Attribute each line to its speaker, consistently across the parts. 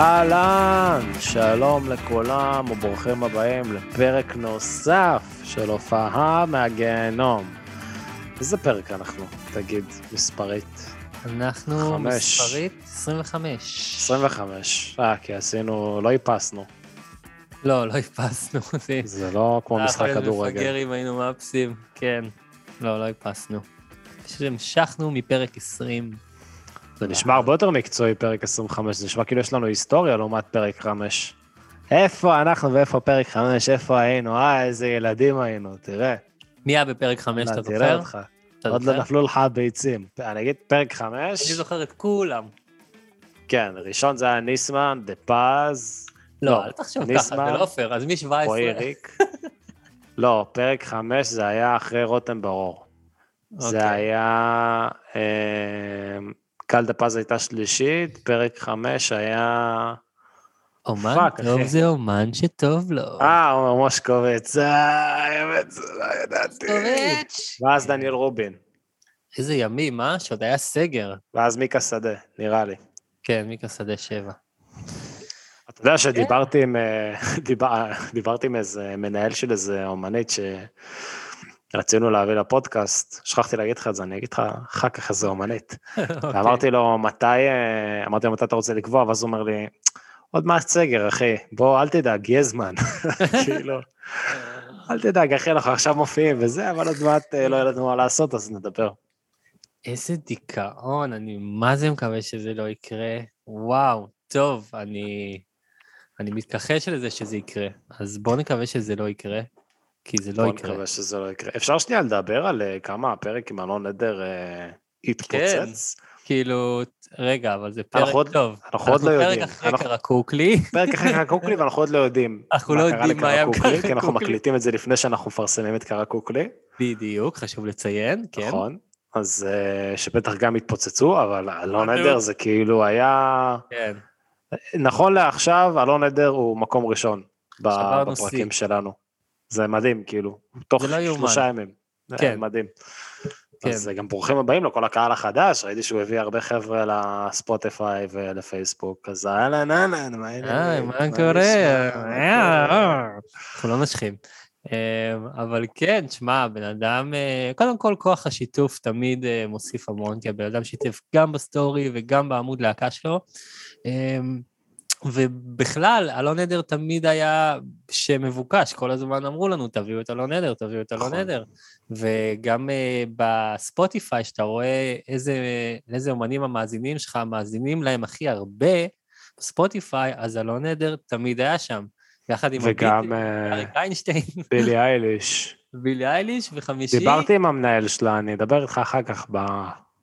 Speaker 1: אהלן, שלום לכולם וברוכים הבאים לפרק נוסף של הופעה מהגיהנום. איזה פרק אנחנו, תגיד, מספרית?
Speaker 2: אנחנו
Speaker 1: חמש.
Speaker 2: מספרית 25.
Speaker 1: 25. אה, כי עשינו, לא איפסנו.
Speaker 2: לא, לא איפסנו. זה-
Speaker 1: זה לא כמו
Speaker 2: היה יכול
Speaker 1: משחק
Speaker 2: להיות מפגר
Speaker 1: כדורגל.
Speaker 2: אם היינו מאפסים, כן. לא, לא איפסנו. פשוט המשכנו מפרק 20.
Speaker 1: זה נשמע הרבה יותר מקצועי, פרק 25, זה נשמע כאילו יש לנו היסטוריה לעומת פרק 5. איפה אנחנו ואיפה פרק 5, איפה היינו? אה, איזה ילדים היינו, תראה.
Speaker 2: מי היה בפרק 5, אתה
Speaker 1: אה, תראה
Speaker 2: זוכר?
Speaker 1: אותך.
Speaker 2: אתה
Speaker 1: עוד
Speaker 2: זוכר?
Speaker 1: לא נפלו לך הביצים. אני אגיד פרק 5.
Speaker 2: אני זוכר את כולם.
Speaker 1: כן, ראשון זה היה ניסמן, דה פז, לא,
Speaker 2: לא, אל תחשוב ככה,
Speaker 1: ניסמן,
Speaker 2: זה לא פייר, אז מי 17?
Speaker 1: רועי ריק. לא, פרק חמש זה היה אחרי רותם ברור. זה
Speaker 2: אוקיי.
Speaker 1: היה... אה, קל דה פז הייתה שלישית, פרק חמש היה...
Speaker 2: אומן
Speaker 1: פאק,
Speaker 2: טוב
Speaker 1: אחי.
Speaker 2: זה אומן שטוב לו.
Speaker 1: אה, עומר מושקוביץ, אה, האמת, זה לא ידעתי.
Speaker 2: מוסקוביץ'.
Speaker 1: ואז דניאל רובין,
Speaker 2: איזה ימים, אה? שעוד היה סגר.
Speaker 1: ואז מיקה שדה, נראה לי.
Speaker 2: כן, מיקה שדה 7.
Speaker 1: אתה
Speaker 2: כן.
Speaker 1: יודע שדיברתי עם, אה, דיבר, דיברתי עם איזה מנהל של איזה אומנית שרצינו להביא לפודקאסט, שכחתי להגיד לך את זה, אני אגיד לך אחר כך איזה אומנית.
Speaker 2: אוקיי.
Speaker 1: ואמרתי לו, מתי, אה, אמרתי לו, מתי אתה רוצה לקבוע? ואז הוא אומר לי, עוד מעט סגר, אחי, בוא, אל תדאג, יהיה זמן. כאילו, אל תדאג, אחי, אנחנו עכשיו מופיעים וזה, אבל עוד מעט אה, לא יהיה לנו מה לעשות, אז נדבר.
Speaker 2: איזה דיכאון, אני מה זה מקווה שזה לא יקרה. וואו, טוב, אני, אני מתכחש לזה שזה יקרה, אז בואו נקווה שזה לא יקרה, כי זה לא
Speaker 1: בוא
Speaker 2: יקרה.
Speaker 1: נקווה שזה לא יקרה. אפשר שנייה לדבר על אה, כמה הפרק עם אלון עדר אה,
Speaker 2: כן.
Speaker 1: התפוצץ?
Speaker 2: כאילו, רגע, אבל זה פרק
Speaker 1: עוד-
Speaker 2: טוב.
Speaker 1: אנחנו עוד לא יודעים.
Speaker 2: פרק אחרי
Speaker 1: אנחנו-
Speaker 2: קרקוקלי,
Speaker 1: פרק אחרי קרקוקלי, ואנחנו עוד לא יודעים.
Speaker 2: אנחנו
Speaker 1: מה
Speaker 2: לא
Speaker 1: קרה
Speaker 2: יודעים מה היה עם
Speaker 1: לקרקוקלי, כי אנחנו
Speaker 2: קרקוקלי.
Speaker 1: מקליטים את זה לפני שאנחנו מפרסמים את קרקוקלי,
Speaker 2: בדיוק, חשוב לציין, כן.
Speaker 1: נכון? אז אה, שבטח גם התפוצצו, אבל אלון
Speaker 2: בדיוק.
Speaker 1: עדר זה כאילו היה...
Speaker 2: כן.
Speaker 1: נכון לעכשיו, אלון עדר הוא מקום ראשון ב-
Speaker 2: שברנו
Speaker 1: בפרקים
Speaker 2: שיא.
Speaker 1: שלנו. זה מדהים, כאילו. תוך
Speaker 2: זה לא יאומן.
Speaker 1: שלושה ימים. זה
Speaker 2: כן.
Speaker 1: מדהים.
Speaker 2: כן.
Speaker 1: אז אה, גם ברוכים הבאים לכל הקהל החדש, ראיתי שהוא הביא הרבה חבר'ה לספוטיפיי ולפייסבוק, אז אהלן אהלן, מה
Speaker 2: אה,
Speaker 1: העניינים?
Speaker 2: מה
Speaker 1: נשמע?
Speaker 2: קורה?
Speaker 1: מה קורה?
Speaker 2: אה, אנחנו לא נשכים. אמ, אבל כן, שמע, בן אדם, אה, קודם כל כוח השיתוף תמיד אה, מוסיף המון, כי הבן אדם שיתף גם בסטורי וגם בעמוד להקה שלו. אמ, ובכלל, אלון עדר תמיד היה שם מבוקש, כל הזמן אמרו לנו, תביאו את אלון עדר, תביאו את אלון
Speaker 1: נכון.
Speaker 2: עדר. וגם אה, בספוטיפיי, שאתה רואה איזה, איזה אומנים המאזינים שלך, מאזינים להם הכי הרבה, בספוטיפיי, אז אלון עדר תמיד היה שם. יחד עם
Speaker 1: וגם
Speaker 2: הביטל,
Speaker 1: אה,
Speaker 2: אריק איינשטיין,
Speaker 1: בילי אייליש.
Speaker 2: בילי אייליש וחמישי.
Speaker 1: דיברתי עם המנהל שלה, אני אדבר איתך אחר כך, ב-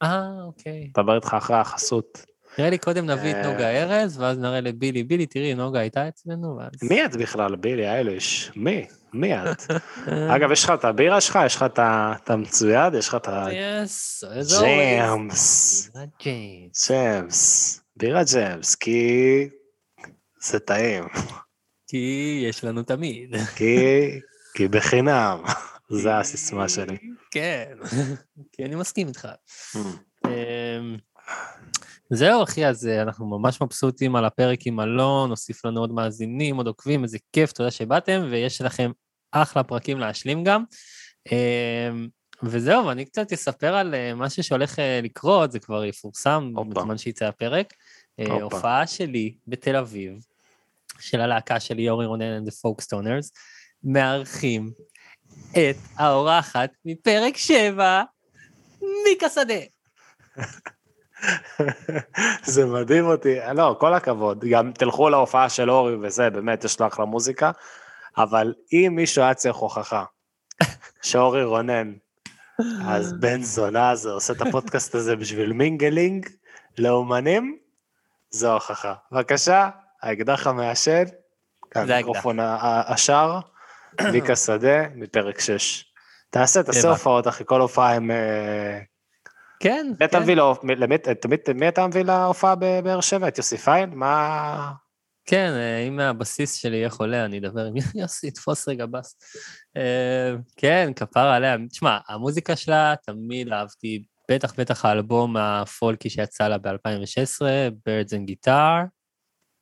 Speaker 2: אה, אוקיי.
Speaker 1: אדבר איתך אחרי החסות.
Speaker 2: נראה לי קודם נביא את
Speaker 1: אה.
Speaker 2: נוגה ארז, ואז נראה לבילי, בילי, תראי, נוגה הייתה אצלנו, ואז...
Speaker 1: מי את בכלל, בילי אייליש? מי? מי את? אגב, יש לך את הבירה שלך, יש לך את ה- את המצויד, יש לך את
Speaker 2: אה, יס, איזה אורז.
Speaker 1: הג'מס.
Speaker 2: ג'יימס.
Speaker 1: ג'מס. בירה ג'מס, כי זה טעים.
Speaker 2: כי יש לנו תמיד.
Speaker 1: כי... כי בחינם. זה הסיסמה שלי.
Speaker 2: כן, כי אני מסכים איתך. אמ, זהו, אחי, אז אה, אנחנו ממש מבסוטים על הפרק עם אלון, הוסיף לנו עוד מאזינים, עוד עוקבים, איזה כיף, תודה שבאתם, ויש לכם אחלה פרקים להשלים גם. אמ, וזהו, ואני קצת אספר על אה, מה שהולך אה, לקרות, זה כבר יפורסם
Speaker 1: הופה.
Speaker 2: בזמן שיצא הפרק. אה,
Speaker 1: הופה.
Speaker 2: הופעה שלי בתל אביב, של הלהקה שלי, יורי רונן and the Folkstoners, מארחים את האורחת מפרק 7, מיקה שדה.
Speaker 1: זה מדהים אותי. לא, כל הכבוד. גם תלכו להופעה של אורי וזה, באמת, יש לו אחלה מוזיקה, אבל אם מישהו היה צריך הוכחה שאורי רונן, אז בן זונה הזה עושה את הפודקאסט הזה בשביל מינגלינג לאומנים, זו ההוכחה. בבקשה, האקדח המעשן,
Speaker 2: האקדח.
Speaker 1: המיקרופון ה- ה- השער, מיקה שדה, מפרק 6. תעשה, תעשה
Speaker 2: הבנתי.
Speaker 1: הופעות, אחי, כל הופעה עם... אה,
Speaker 2: כן,
Speaker 1: מי אתה
Speaker 2: כן.
Speaker 1: מביא להופ- מי- לא- למי- את מי- את מי אתה מביא להופעה בבאר שבע? את יוסי פיין? מה...
Speaker 2: כן, אה, אם הבסיס שלי יהיה חולה, אני אדבר עם יוסי, תפוס רגע בס. אה, כן, כפרה עליה. תשמע, המוזיקה שלה תמיד אהבתי, בטח בטח האלבום הפולקי שיצא לה ב-2016, Birds and Guitar,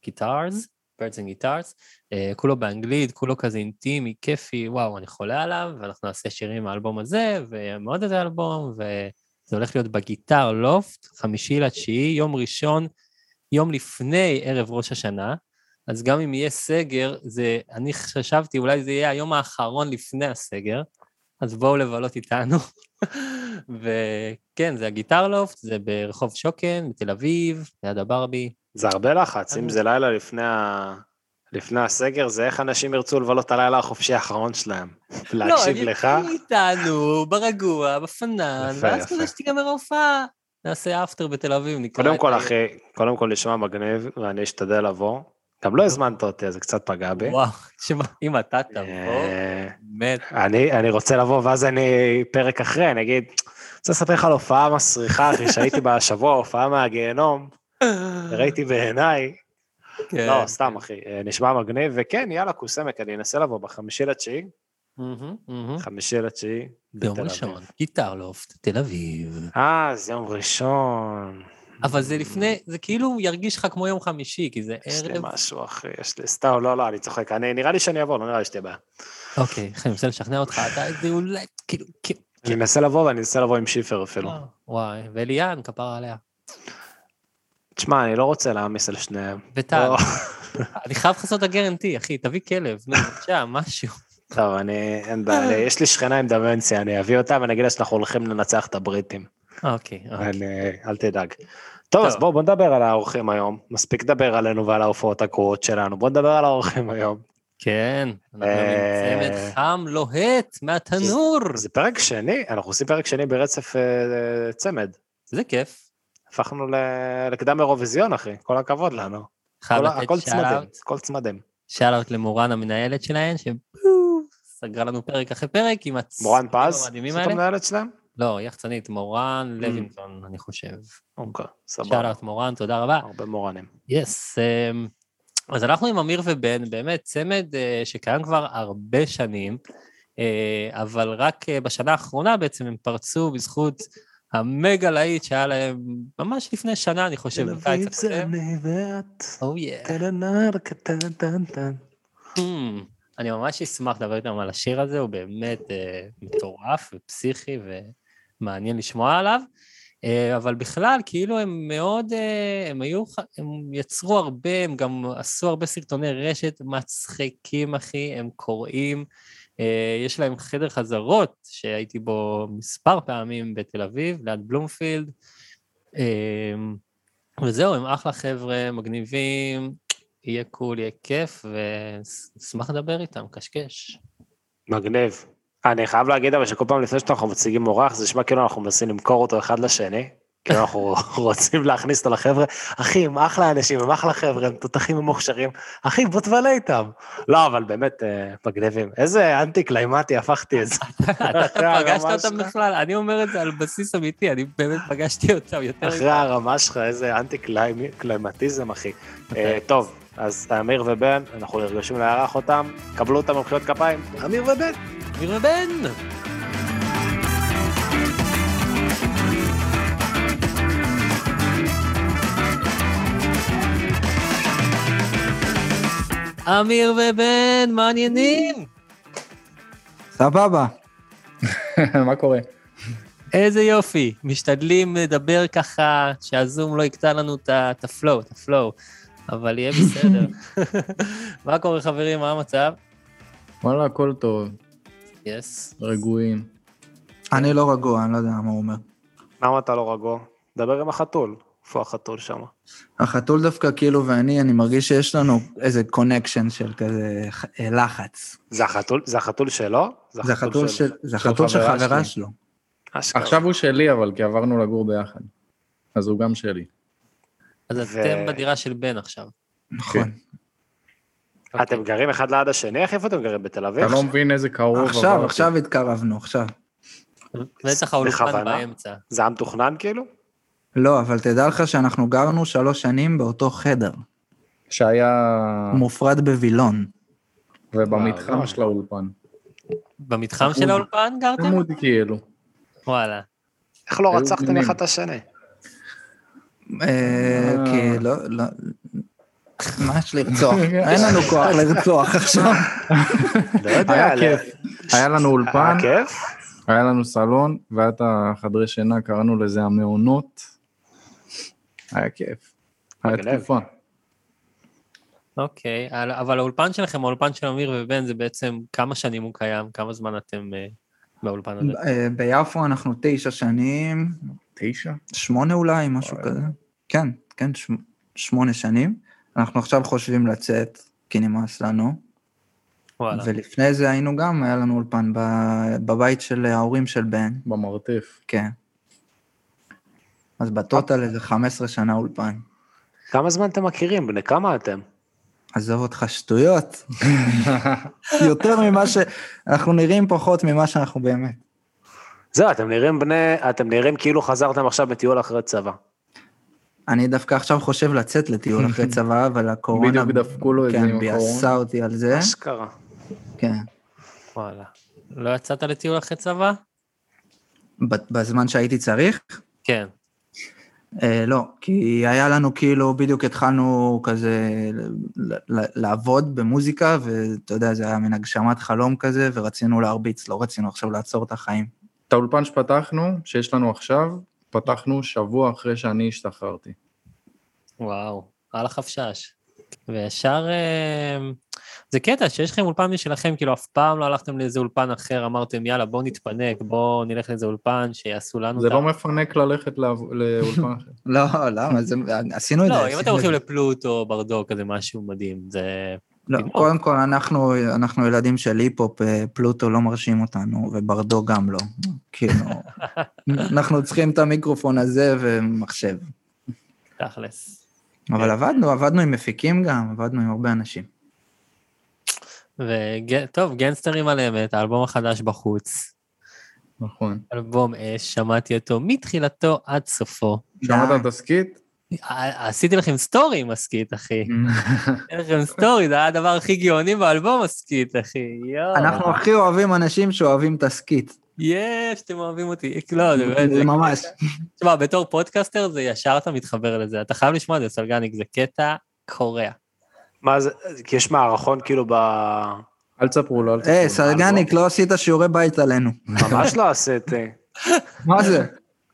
Speaker 2: Guitars, Birds and Guitars, אה, כולו באנגלית, כולו כזה אינטימי, כיפי, וואו, אני חולה עליו, ואנחנו נעשה שירים מהאלבום הזה, ומאוד איזה אלבום, וזה הולך להיות בגיטר לופט, חמישי לתשיעי, יום ראשון. יום לפני ערב ראש השנה, אז גם אם יהיה סגר, זה, אני חשבתי, אולי זה יהיה היום האחרון לפני הסגר, אז בואו לבלות איתנו. וכן, זה הגיטר לופט, זה ברחוב שוקן, בתל אביב, ליד הברבי.
Speaker 1: זה הרבה לחץ, אם זה לילה לפני ה... לפני הסגר, זה איך אנשים ירצו לבלות את הלילה החופשי האחרון שלהם. להקשיב לך?
Speaker 2: לא, הם יצאו איתנו, ברגוע, בפנן,
Speaker 1: יפה,
Speaker 2: ואז
Speaker 1: יפה.
Speaker 2: כדי שתיגמר ההופעה, נעשה אפטר בתל אביב, נקרא
Speaker 1: קודם
Speaker 2: את
Speaker 1: כל,
Speaker 2: ה-
Speaker 1: אחי, קודם כל נשמע מגניב, ואני אשתדל לבוא. גם לא הזמנת אותי, אז זה קצת פגע בי.
Speaker 2: וואו, תשמע, אם אתה תבוא,
Speaker 1: אה,
Speaker 2: באמת,
Speaker 1: אני, אני רוצה לבוא, ואז אני פרק אחרי, אני אגיד, רוצה לספר לך על הופעה מסריחה, אחי, שהייתי בה השבוע, הופעה מהגיהנום, ראיתי בעיניי.
Speaker 2: כן.
Speaker 1: לא, סתם, אחי, אה, נשמע מגניב, וכן, יאללה, קוסמק, אני אנסה לבוא בחמישי לתשיעי,
Speaker 2: מהמם, מהמם.
Speaker 1: חמישי לתשיעי,
Speaker 2: ביום
Speaker 1: בתל אביב.
Speaker 2: ראשון, גיטר לופט, תל אביב.
Speaker 1: אה, זה יום ראשון.
Speaker 2: אבל זה לפני, זה כאילו ירגיש לך כמו יום חמישי, כי זה
Speaker 1: יש לי
Speaker 2: ערב...
Speaker 1: משהו, אחי, יש לי, סתם, לא, לא, אני צוחק, אני, נראה לי שאני אבוא, לא נראה לי שתהיה בעיה.
Speaker 2: אוקיי, איך אני מנסה לשכנע אותך, אתה איזה אולי, כאילו, כאילו...
Speaker 1: אני אנסה לבוא, ואני אנסה לבוא עם שיפר אפילו.
Speaker 2: אה. וואי, וליאן, כפרה עליה.
Speaker 1: תשמע, אני לא רוצה להעמיס על שניהם.
Speaker 2: וטל,
Speaker 1: לא.
Speaker 2: אני חייב לך לעשות את הגרנטי, אחי, תביא כלב, נו, בבקשה, משהו.
Speaker 1: טוב, אני, אין בעיה, אני- יש לי שכנה עם דמנציה, אני אביא אותה ואני אגיד לה שאנחנו הולכים לנצח את הבריטים.
Speaker 2: אוקיי,
Speaker 1: אה.
Speaker 2: אוקיי.
Speaker 1: אני- אל תדאג. טוב, אז בואו בוא נדבר על האורחים היום. מספיק לדבר עלינו ועל ההופעות הקרואות שלנו. בואו נדבר על האורחים היום.
Speaker 2: כן, אנחנו
Speaker 1: אה.
Speaker 2: עם צמד חם לוהט מהתנור.
Speaker 1: זה פרק שני, אנחנו עושים פרק שני ברצף אה, צמד.
Speaker 2: זה כיף.
Speaker 1: הפכנו ל- לקדם אירוויזיון, אחי. כל הכבוד לנו.
Speaker 2: חייב
Speaker 1: כל-
Speaker 2: לתת
Speaker 1: הכל צמדים,
Speaker 2: שאט-אאוט.
Speaker 1: הכל צמדים.
Speaker 2: שאלות למורן המנהלת שלהן, שסגרה לנו פרק אחרי פרק עם הצ...
Speaker 1: מורן פז,
Speaker 2: המדהימים
Speaker 1: זאת Mm.
Speaker 2: האלה.
Speaker 1: המנהלת שלהם?
Speaker 2: לא, יחצנית, מורן לוינגטון, אני חושב.
Speaker 1: אוקיי, סבבה.
Speaker 2: שאלות מורן, תודה רבה.
Speaker 1: הרבה מורנים.
Speaker 2: יס, אמ, אז אנחנו עם אמיר ובן, באמת צמד אה, שקיים כבר הרבה שנים, אה, אבל רק אה, בשנה האחרונה בעצם הם פרצו בזכות המגה להיט שהיה להם ממש לפני שנה, אני חושב, בקיץ הקודם.
Speaker 1: אני ואת,
Speaker 2: Oh yeah.
Speaker 1: תל הנער קטן טן טן.
Speaker 2: Hmm. אני ממש אשמח לדבר איתם על השיר הזה, הוא באמת אה, מטורף ופסיכי ומעניין לשמוע עליו. אה, אבל בכלל, כאילו הם מאוד, אה, הם היו, ח- הם יצרו הרבה, הם גם עשו הרבה סרטוני רשת מצחיקים, אחי, הם קוראים, אה, יש להם חדר חזרות שהייתי בו מספר פעמים בתל אביב, ליד בלומפילד. אה, וזהו, הם אחלה חבר'ה, מגניבים, יהיה קול, יהיה כיף, ואשמח לדבר איתם, קשקש.
Speaker 1: מגניב. אה, אני חייב להגיד אבל שכל פעם לפני שאנחנו מציגים אורח, זה נשמע כאילו אנחנו מנסים למכור אותו אחד לשני. כאילו אנחנו רוצים להכניס אותו לחבר'ה, אחי, הם אחלה אנשים, הם אחלה חבר'ה, הם תותחים הם מוכשרים, אחי, בוא תבלה איתם. לא, אבל באמת, אה, מגניבים. איזה אנטי קליימטי הפכתי את זה.
Speaker 2: אתה פגשת
Speaker 1: הרמה
Speaker 2: אותם
Speaker 1: שלך.
Speaker 2: בכלל, אני אומר את זה על בסיס אמיתי, אני באמת פגשתי אותם יותר...
Speaker 1: אחרי הרמה שלך, איזה אנטי קליימ- קליימטיזם, אחי.
Speaker 2: אוקיי.
Speaker 1: אה, טוב, אז אמיר ובן, אנחנו נרגשים לארח אותם, קבלו אותם במחיאות כפיים, אמיר ובן.
Speaker 2: אמיר ובן! אמיר ובן, מה העניינים?
Speaker 3: סבבה.
Speaker 4: מה קורה?
Speaker 2: איזה יופי, משתדלים לדבר ככה, שהזום לא יקטע לנו את ה- את הפלואו, את הפלואו, אבל יהיה בסדר. מה קורה חברים, מה המצב?
Speaker 4: וואלה, הכל טוב,
Speaker 2: יס.
Speaker 4: רגועים.
Speaker 3: אני לא רגוע, אני לא יודע מה הוא אומר.
Speaker 1: למה אתה לא רגוע? דבר עם החתול. איפה החתול שם?
Speaker 5: החתול דווקא כאילו ואני, אני מרגיש שיש לנו איזה קונקשן של כזה ח- אה, לחץ.
Speaker 1: זה החתול, זה החתול שלו?
Speaker 5: זה החתול של- זה החתול של
Speaker 4: חברה
Speaker 5: חברה כן.
Speaker 4: שלי.
Speaker 5: שלו.
Speaker 1: אשכרה.
Speaker 4: עכשיו הוא שלי, אבל כי עברנו לגור ביחד. אז הוא גם שלי.
Speaker 2: אז אתם בדירה של בן עכשיו.
Speaker 5: נכון.
Speaker 1: אתם גרים אחד ליד השני? איך איפה אתם גרים? בתל אביב?
Speaker 4: אתה לא מבין איזה קרוב
Speaker 5: עכשיו,
Speaker 4: עברתי.
Speaker 5: עכשיו התקרבנו, עכשיו.
Speaker 2: ויש לך אולפן
Speaker 1: בכוונה?
Speaker 2: באמצע.
Speaker 1: זה היה מתוכנן כאילו?
Speaker 5: לא, אבל תדע לך שאנחנו גרנו שלוש שנים באותו חדר,
Speaker 4: שהיה...
Speaker 5: מופרד בווילון.
Speaker 4: ובמתחם
Speaker 1: וואו.
Speaker 4: של האולפן.
Speaker 2: במתחם של האולפן גרתם?
Speaker 4: עמוד כאילו.
Speaker 2: וואלה.
Speaker 1: איך לא
Speaker 4: היו
Speaker 1: רצחתם
Speaker 4: עניינים.
Speaker 1: אחד את השני?
Speaker 5: אה,
Speaker 4: אה.
Speaker 5: כי לא, לא... מה יש לרצוח? אין לנו כוח לרצוח עכשיו.
Speaker 1: לא יודע.
Speaker 4: היה
Speaker 1: ל- אה, כן?
Speaker 4: כיף. היה לנו אולפן,
Speaker 1: היה כיף?
Speaker 4: היה לנו סלון, והיה את החדרי שינה, קראנו לזה המעונות. היה כיף. היה
Speaker 1: מגניב.
Speaker 4: תקופה.
Speaker 2: אוקיי, על- אבל האולפן שלכם, האולפן של אמיר ובן, זה בעצם כמה שנים הוא קיים, כמה זמן אתם אה, באולפן הזה?
Speaker 5: אה, ביפו אנחנו תשע שנים,
Speaker 4: תשע?
Speaker 5: שמונה אולי, משהו כזה. כן, כן, שמ- שמונה שנים. אנחנו עכשיו חושבים לצאת, כי נמאס לנו.
Speaker 2: וואלה.
Speaker 5: ולפני זה היינו גם, היה לנו אולפן ב- בבית של ההורים של בן,
Speaker 4: במרתף.
Speaker 5: כן. אז בטוטל איזה 15 שנה אולפן.
Speaker 1: כמה זמן אתם מכירים? בני כמה אתם?
Speaker 5: עזוב אותך שטויות. יותר ממה ש... אנחנו נראים פחות ממה שאנחנו באמת.
Speaker 1: זהו, אתם נראים בני... אתם נראים כאילו חזרתם עכשיו מטיול אחרי צבא.
Speaker 5: אה? אני דווקא עכשיו חושב לצאת לטיול אחרי צבא, אבל הקורונה...
Speaker 4: בדיוק דפקו לו את זה עם
Speaker 5: כן, ביאסה
Speaker 4: הקורונה.
Speaker 5: אותי על זה.
Speaker 1: אשכרה.
Speaker 5: כן.
Speaker 2: וואלה. לא יצאת לטיול אחרי צבא?
Speaker 5: ב- בזמן שהייתי צריך?
Speaker 2: כן.
Speaker 5: אה, לא, כי היה לנו כאילו, בדיוק התחלנו כזה ל- ל- לעבוד במוזיקה, ואתה יודע, זה היה מין הגשמת חלום כזה, ורצינו להרביץ, לא רצינו עכשיו לעצור את החיים.
Speaker 4: את האולפן שפתחנו, שיש לנו עכשיו, פתחנו שבוע אחרי שאני השתחררתי.
Speaker 2: וואו, על החפשש. וישר... אה, זה קטע שיש לכם אולפן משלכם, כאילו אף פעם לא הלכתם לאיזה אולפן אחר, אמרתם יאללה בואו נתפנק, בואו נלך לאיזה אולפן שיעשו לנו
Speaker 4: זה
Speaker 2: את ה-"
Speaker 4: לא מפנק ללכת לעב- לאולפן אחר.
Speaker 5: לא, למה? זה, עשינו את זה.
Speaker 2: לא, אם
Speaker 5: עשינו
Speaker 2: אתם
Speaker 5: את
Speaker 2: הולכים
Speaker 5: זה.
Speaker 2: לפלוטו, ברדוק, אז זה משהו מדהים, זה...
Speaker 5: לא,
Speaker 2: לנאום.
Speaker 5: קודם כל, אנחנו, אנחנו ילדים של היפ-הופ, אה, פלוטו לא מרשים אותנו, וברדו גם לא. כאילו, אנחנו צריכים את המיקרופון הזה ומחשב.
Speaker 2: תכלס. כן.
Speaker 5: אבל עבדנו, עבדנו עם מפיקים גם, עבדנו עם הרבה אנשים.
Speaker 2: וטוב, גנסטרים על אמת, האלבום החדש בחוץ.
Speaker 4: נכון.
Speaker 2: אלבום אש, שמעתי אותו מתחילתו עד סופו.
Speaker 1: אה.
Speaker 5: די.
Speaker 4: שמעת תסכית?
Speaker 2: ע- עשיתי לכם סטורי עם הסקית, אחי. עשיתי לכם סטורי, זה היה הדבר הכי גאוני באלבום הסקית, אחי. יואו.
Speaker 5: אנחנו הכי אוהבים אנשים שאוהבים תסכית.
Speaker 2: יש, אתם אוהבים אותי. לא, זה באמת...
Speaker 5: זה ממש.
Speaker 2: תשמע, בתור פודקאסטר זה ישר אתה מתחבר לזה. אתה חייב לשמוע את זה, סלגניק, זה קטע קורע.
Speaker 5: אה.
Speaker 1: מה זה... כי יש מערכון כאילו ב...
Speaker 4: אל תספרו לו, אל תספרו
Speaker 5: היי,
Speaker 4: לו.
Speaker 5: סרגניק, לא עשית שיעורי בית עלינו.
Speaker 1: ממש לא עשיתי.
Speaker 5: מה זה?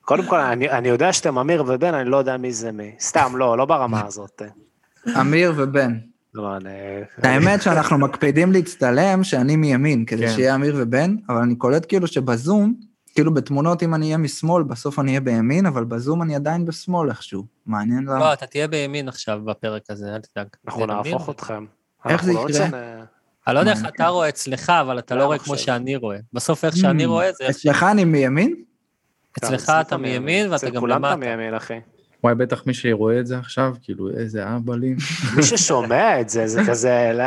Speaker 1: קודם כל, אני, אני יודע שאתם אמיר ובן, אני לא יודע מי זה מי. סתם, לא, לא ברמה הזאת.
Speaker 5: אמיר ובן.
Speaker 1: לא, אני...
Speaker 5: האמת שאנחנו מקפידים להצטלם שאני מימין, כדי
Speaker 4: כן.
Speaker 5: שיהיה אמיר ובן, אבל אני קולט כאילו שבזום, כאילו בתמונות אם אני אהיה משמאל, בסוף אני אהיה בימין, אבל בזום אני עדיין בשמאל איכשהו. מעניין למה.
Speaker 2: לא, אתה תהיה בימין עכשיו בפרק הזה, אל תדאג.
Speaker 1: אנחנו
Speaker 2: זה אמיר?
Speaker 1: נהפוך אתכם.
Speaker 5: איך
Speaker 1: אנחנו
Speaker 5: זה
Speaker 1: לא
Speaker 5: יקרה?
Speaker 1: נשנה-
Speaker 2: אני לא יודע איך אתה רואה אצלך, אבל אתה
Speaker 1: לא,
Speaker 2: לא רואה
Speaker 1: אני
Speaker 2: כמו
Speaker 1: חושב.
Speaker 2: שאני רואה. בסוף איך שאני
Speaker 5: Hmm.
Speaker 2: רואה זה איך ש...
Speaker 5: אצלך אני מימין?
Speaker 2: אצלך אתה מימין ואתה
Speaker 1: אה, אצל
Speaker 2: גם
Speaker 1: כולם אתה
Speaker 2: למטה.
Speaker 1: מימין, אחי.
Speaker 4: וואי, בטח מי שרואה את זה עכשיו, כאילו, איזה אבלים.
Speaker 1: מי ששומע את זה, זה כזה, לא,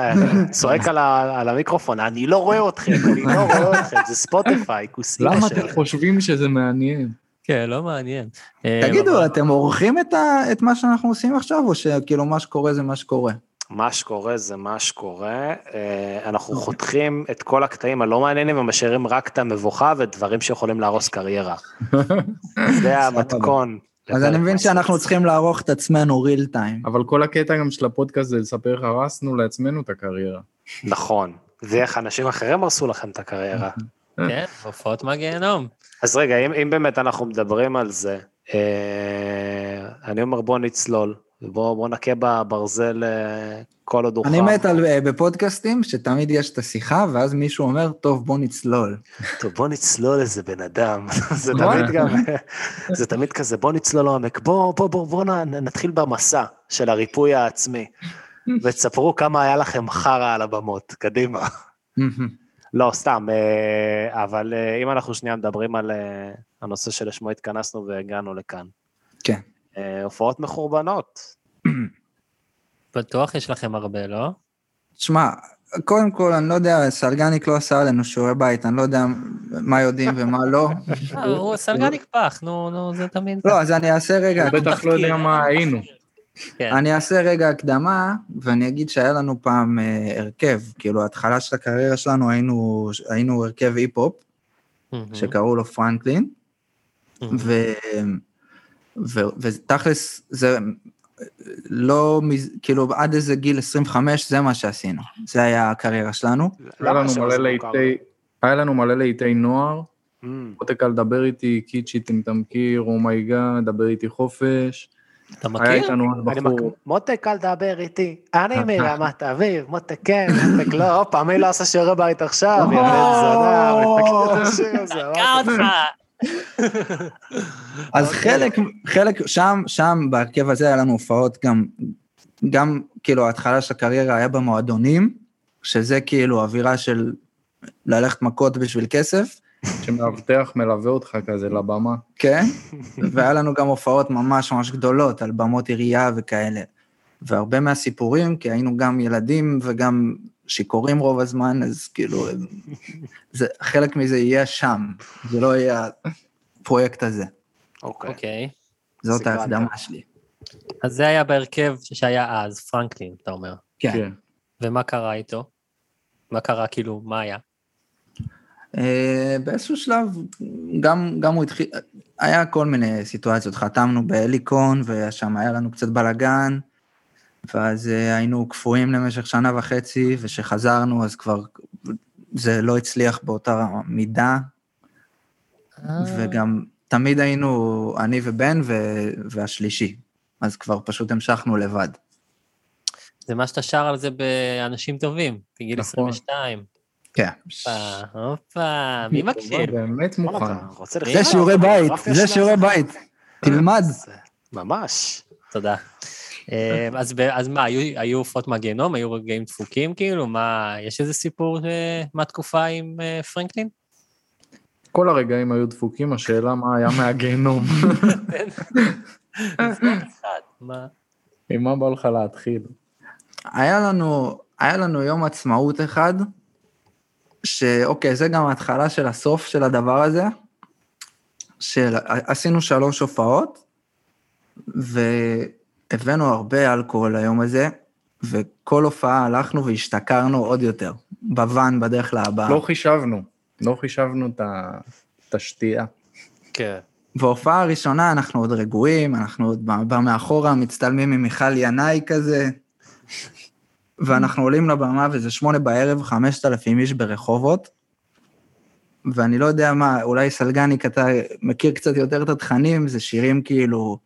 Speaker 1: צועק על ה- על המיקרופון, אני לא רואה אתכם, אני לא רואה אתכם, זה ספוטיפיי, כוס אימא
Speaker 4: למה
Speaker 1: שלכם.
Speaker 4: אתם חושבים שזה מעניין?
Speaker 2: כן, לא מעניין. אה,
Speaker 5: תגידו,
Speaker 2: אבל-
Speaker 5: אתם עורכים את ה- את מה שאנחנו עושים עכשיו, או שכאילו מה שקורה זה מה שקורה?
Speaker 1: מה שקורה זה מה שקורה, אה, אנחנו חותכים את כל הקטעים הלא מעניינים ומשאירים רק את המבוכה ודברים שיכולים להרוס קריירה. זה המתכון.
Speaker 5: אז אני מבין שאנחנו צריכים לערוך את עצמנו real time.
Speaker 4: אבל כל הקטע גם של הפודקאסט זה לספר איך הרסנו לעצמנו את הקריירה.
Speaker 1: נכון, ואיך אנשים אחרים הרסו לכם את הקריירה.
Speaker 2: כן, הופעות מהגיהנום.
Speaker 1: אז רגע, אם, אם באמת אנחנו מדברים על זה, אה, אני אומר בוא נצלול, בוא, בוא נכה בברזל אה, כל עוד הוא
Speaker 5: אני
Speaker 1: חם.
Speaker 5: מת על, אה, בפודקאסטים שתמיד יש את השיחה, ואז מישהו אומר, טוב, בוא נצלול.
Speaker 1: טוב, בוא נצלול איזה בן אדם. זה
Speaker 5: נכון?
Speaker 1: תמיד גם, זה תמיד כזה, בוא נצלול לעומק, בוא, בוא, בוא, בוא נ- נתחיל במסע של הריפוי העצמי, ותספרו כמה היה לכם חרא על הבמות, קדימה. לא, סתם, אה, אבל אה, אם אנחנו שנייה מדברים על אה, הנושא שלשמו התכנסנו והגענו לכאן.
Speaker 5: כן.
Speaker 1: אה, הופעות מחורבנות.
Speaker 2: בטוח יש לכם הרבה, לא?
Speaker 1: אה,
Speaker 5: תשמע, קודם כל, אני לא יודע, סלגניק לא עשה עלינו שיעורי בית, אני לא יודע מה יודעים ומה לא.
Speaker 2: אה, הוא סלגניק פח, נו, נו, זה תמיד...
Speaker 5: לא, אז אני אעשה רגע...
Speaker 4: הוא בטח לא יודע מה היינו.
Speaker 2: כן.
Speaker 5: אני אעשה רגע הקדמה, ואני אגיד שהיה לנו פעם אה, הרכב, כאילו, ההתחלה של הקריירה שלנו היינו, היינו הרכב היפ-הופ,
Speaker 2: מהמם.
Speaker 5: שקראו לו פרנקלין,
Speaker 2: מהמם.
Speaker 5: ו... ו... ותכלס, זה לא, מז- כאילו, עד איזה גיל 25, זה מה שעשינו. זה היה הקריירה שלנו.
Speaker 4: לא היה
Speaker 1: למה
Speaker 4: לנו
Speaker 1: השם
Speaker 4: מלא
Speaker 1: הזה מוכר?
Speaker 4: להיטי- היה לנו מלא להיטי נוער,
Speaker 1: אמ,
Speaker 4: מותק אל דבר איתי, קיצ'י טמטמקיר, אומייגאד, דבר איתי חופש.
Speaker 2: אתה
Speaker 4: היה
Speaker 2: מכיר?
Speaker 4: איתנו עוד
Speaker 1: אני מק-
Speaker 4: בחור.
Speaker 1: מותק, אל תדבר איתי, אני מרמת אביב, מותק כן, מותק לא, הופה, מי לא עשה שיעורי בית עכשיו, ילד זונה, לא מכיר את השיר הזה,
Speaker 2: אה,
Speaker 1: אמרתי,
Speaker 2: אותך.
Speaker 5: אז חלק, חלק, שם, שם בהרכב הזה היה לנו הופעות גם, גם כאילו ההתחלה של הקריירה היה במועדונים, שזה כאילו אווירה של ללכת מכות בשביל כסף,
Speaker 4: שמאבטח מלווה אותך כזה לבמה.
Speaker 5: כן? והיה לנו גם הופעות ממש ממש גדולות, על במות עירייה וכאלה. והרבה מהסיפורים, כי היינו גם ילדים וגם שיכורים רוב הזמן, אז כאילו, זה, חלק מזה יהיה שם, זה לא יהיה הפרויקט הזה.
Speaker 1: אוקיי.
Speaker 2: אוקיי.
Speaker 5: זאת
Speaker 1: סיכנת.
Speaker 5: ההקדמה שלי.
Speaker 2: אז זה היה בהרכב שהיה אז, פרנקלין, אתה אומר.
Speaker 5: כן.
Speaker 4: כן.
Speaker 2: ומה קרה איתו? מה קרה, כאילו, מה היה?
Speaker 5: אה, באיזשהו שלב, גם, גם הוא התחיל, היה כל מיני סיטואציות, חתמנו בהליקון, ושם היה לנו קצת בלאגן, ואז אה, היינו קפואים למשך שנה וחצי, וכשחזרנו אז כבר זה לא הצליח באותה מידה, וגם תמיד היינו אני ובן ו, והשלישי, אז כבר פשוט המשכנו לבד.
Speaker 2: זה מה שאתה שר על זה באנשים טובים, בגיל
Speaker 4: נכון.
Speaker 2: 22.
Speaker 5: כן.
Speaker 2: הופה, הופה, מי מקשיב?
Speaker 4: באמת
Speaker 1: וואלה,
Speaker 4: מוכן.
Speaker 1: אתה רוצה לכתוב
Speaker 5: נכון. זה שיעורי
Speaker 1: על
Speaker 5: בית,
Speaker 1: הביוגרפיה
Speaker 5: זה
Speaker 1: שלנו?
Speaker 5: שיעורי בית, תלמד.
Speaker 1: ממש.
Speaker 2: תודה. אמ, אז, ב- אז מה, היו, היו עופות מהגיהנום? היו רגעים דפוקים כאילו? מה, יש איזה סיפור אה, מהתקופה עם אה, פרנקלין?
Speaker 4: כל הרגעים היו דפוקים, השאלה מה היה מהגיהנום.
Speaker 2: מה?
Speaker 4: עם מה בא לך להתחיל?
Speaker 5: היה לנו, היה לנו יום עצמאות אחד, שאוקיי, זה גם ההתחלה של הסוף של הדבר הזה, שעשינו שלוש הופעות, והבאנו הרבה אלכוהול ליום הזה, וכל הופעה הלכנו והשתכרנו עוד יותר, בוואן בדרך להבאה.
Speaker 4: לא חישבנו, לא חישבנו את ה- את השתייה.
Speaker 2: כן.
Speaker 5: בהופעה הראשונה אנחנו עוד רגועים, אנחנו עוד ב- ב- מאחורה מצטלמים עם מיכל ינאי כזה, ואנחנו עולים לבמה וזה שמונה בערב, חמשת אלפים איש ברחובות, ואני לא יודע מה, אולי סלגניק, אתה מכיר קצת יותר את התכנים, זה שירים כאילו,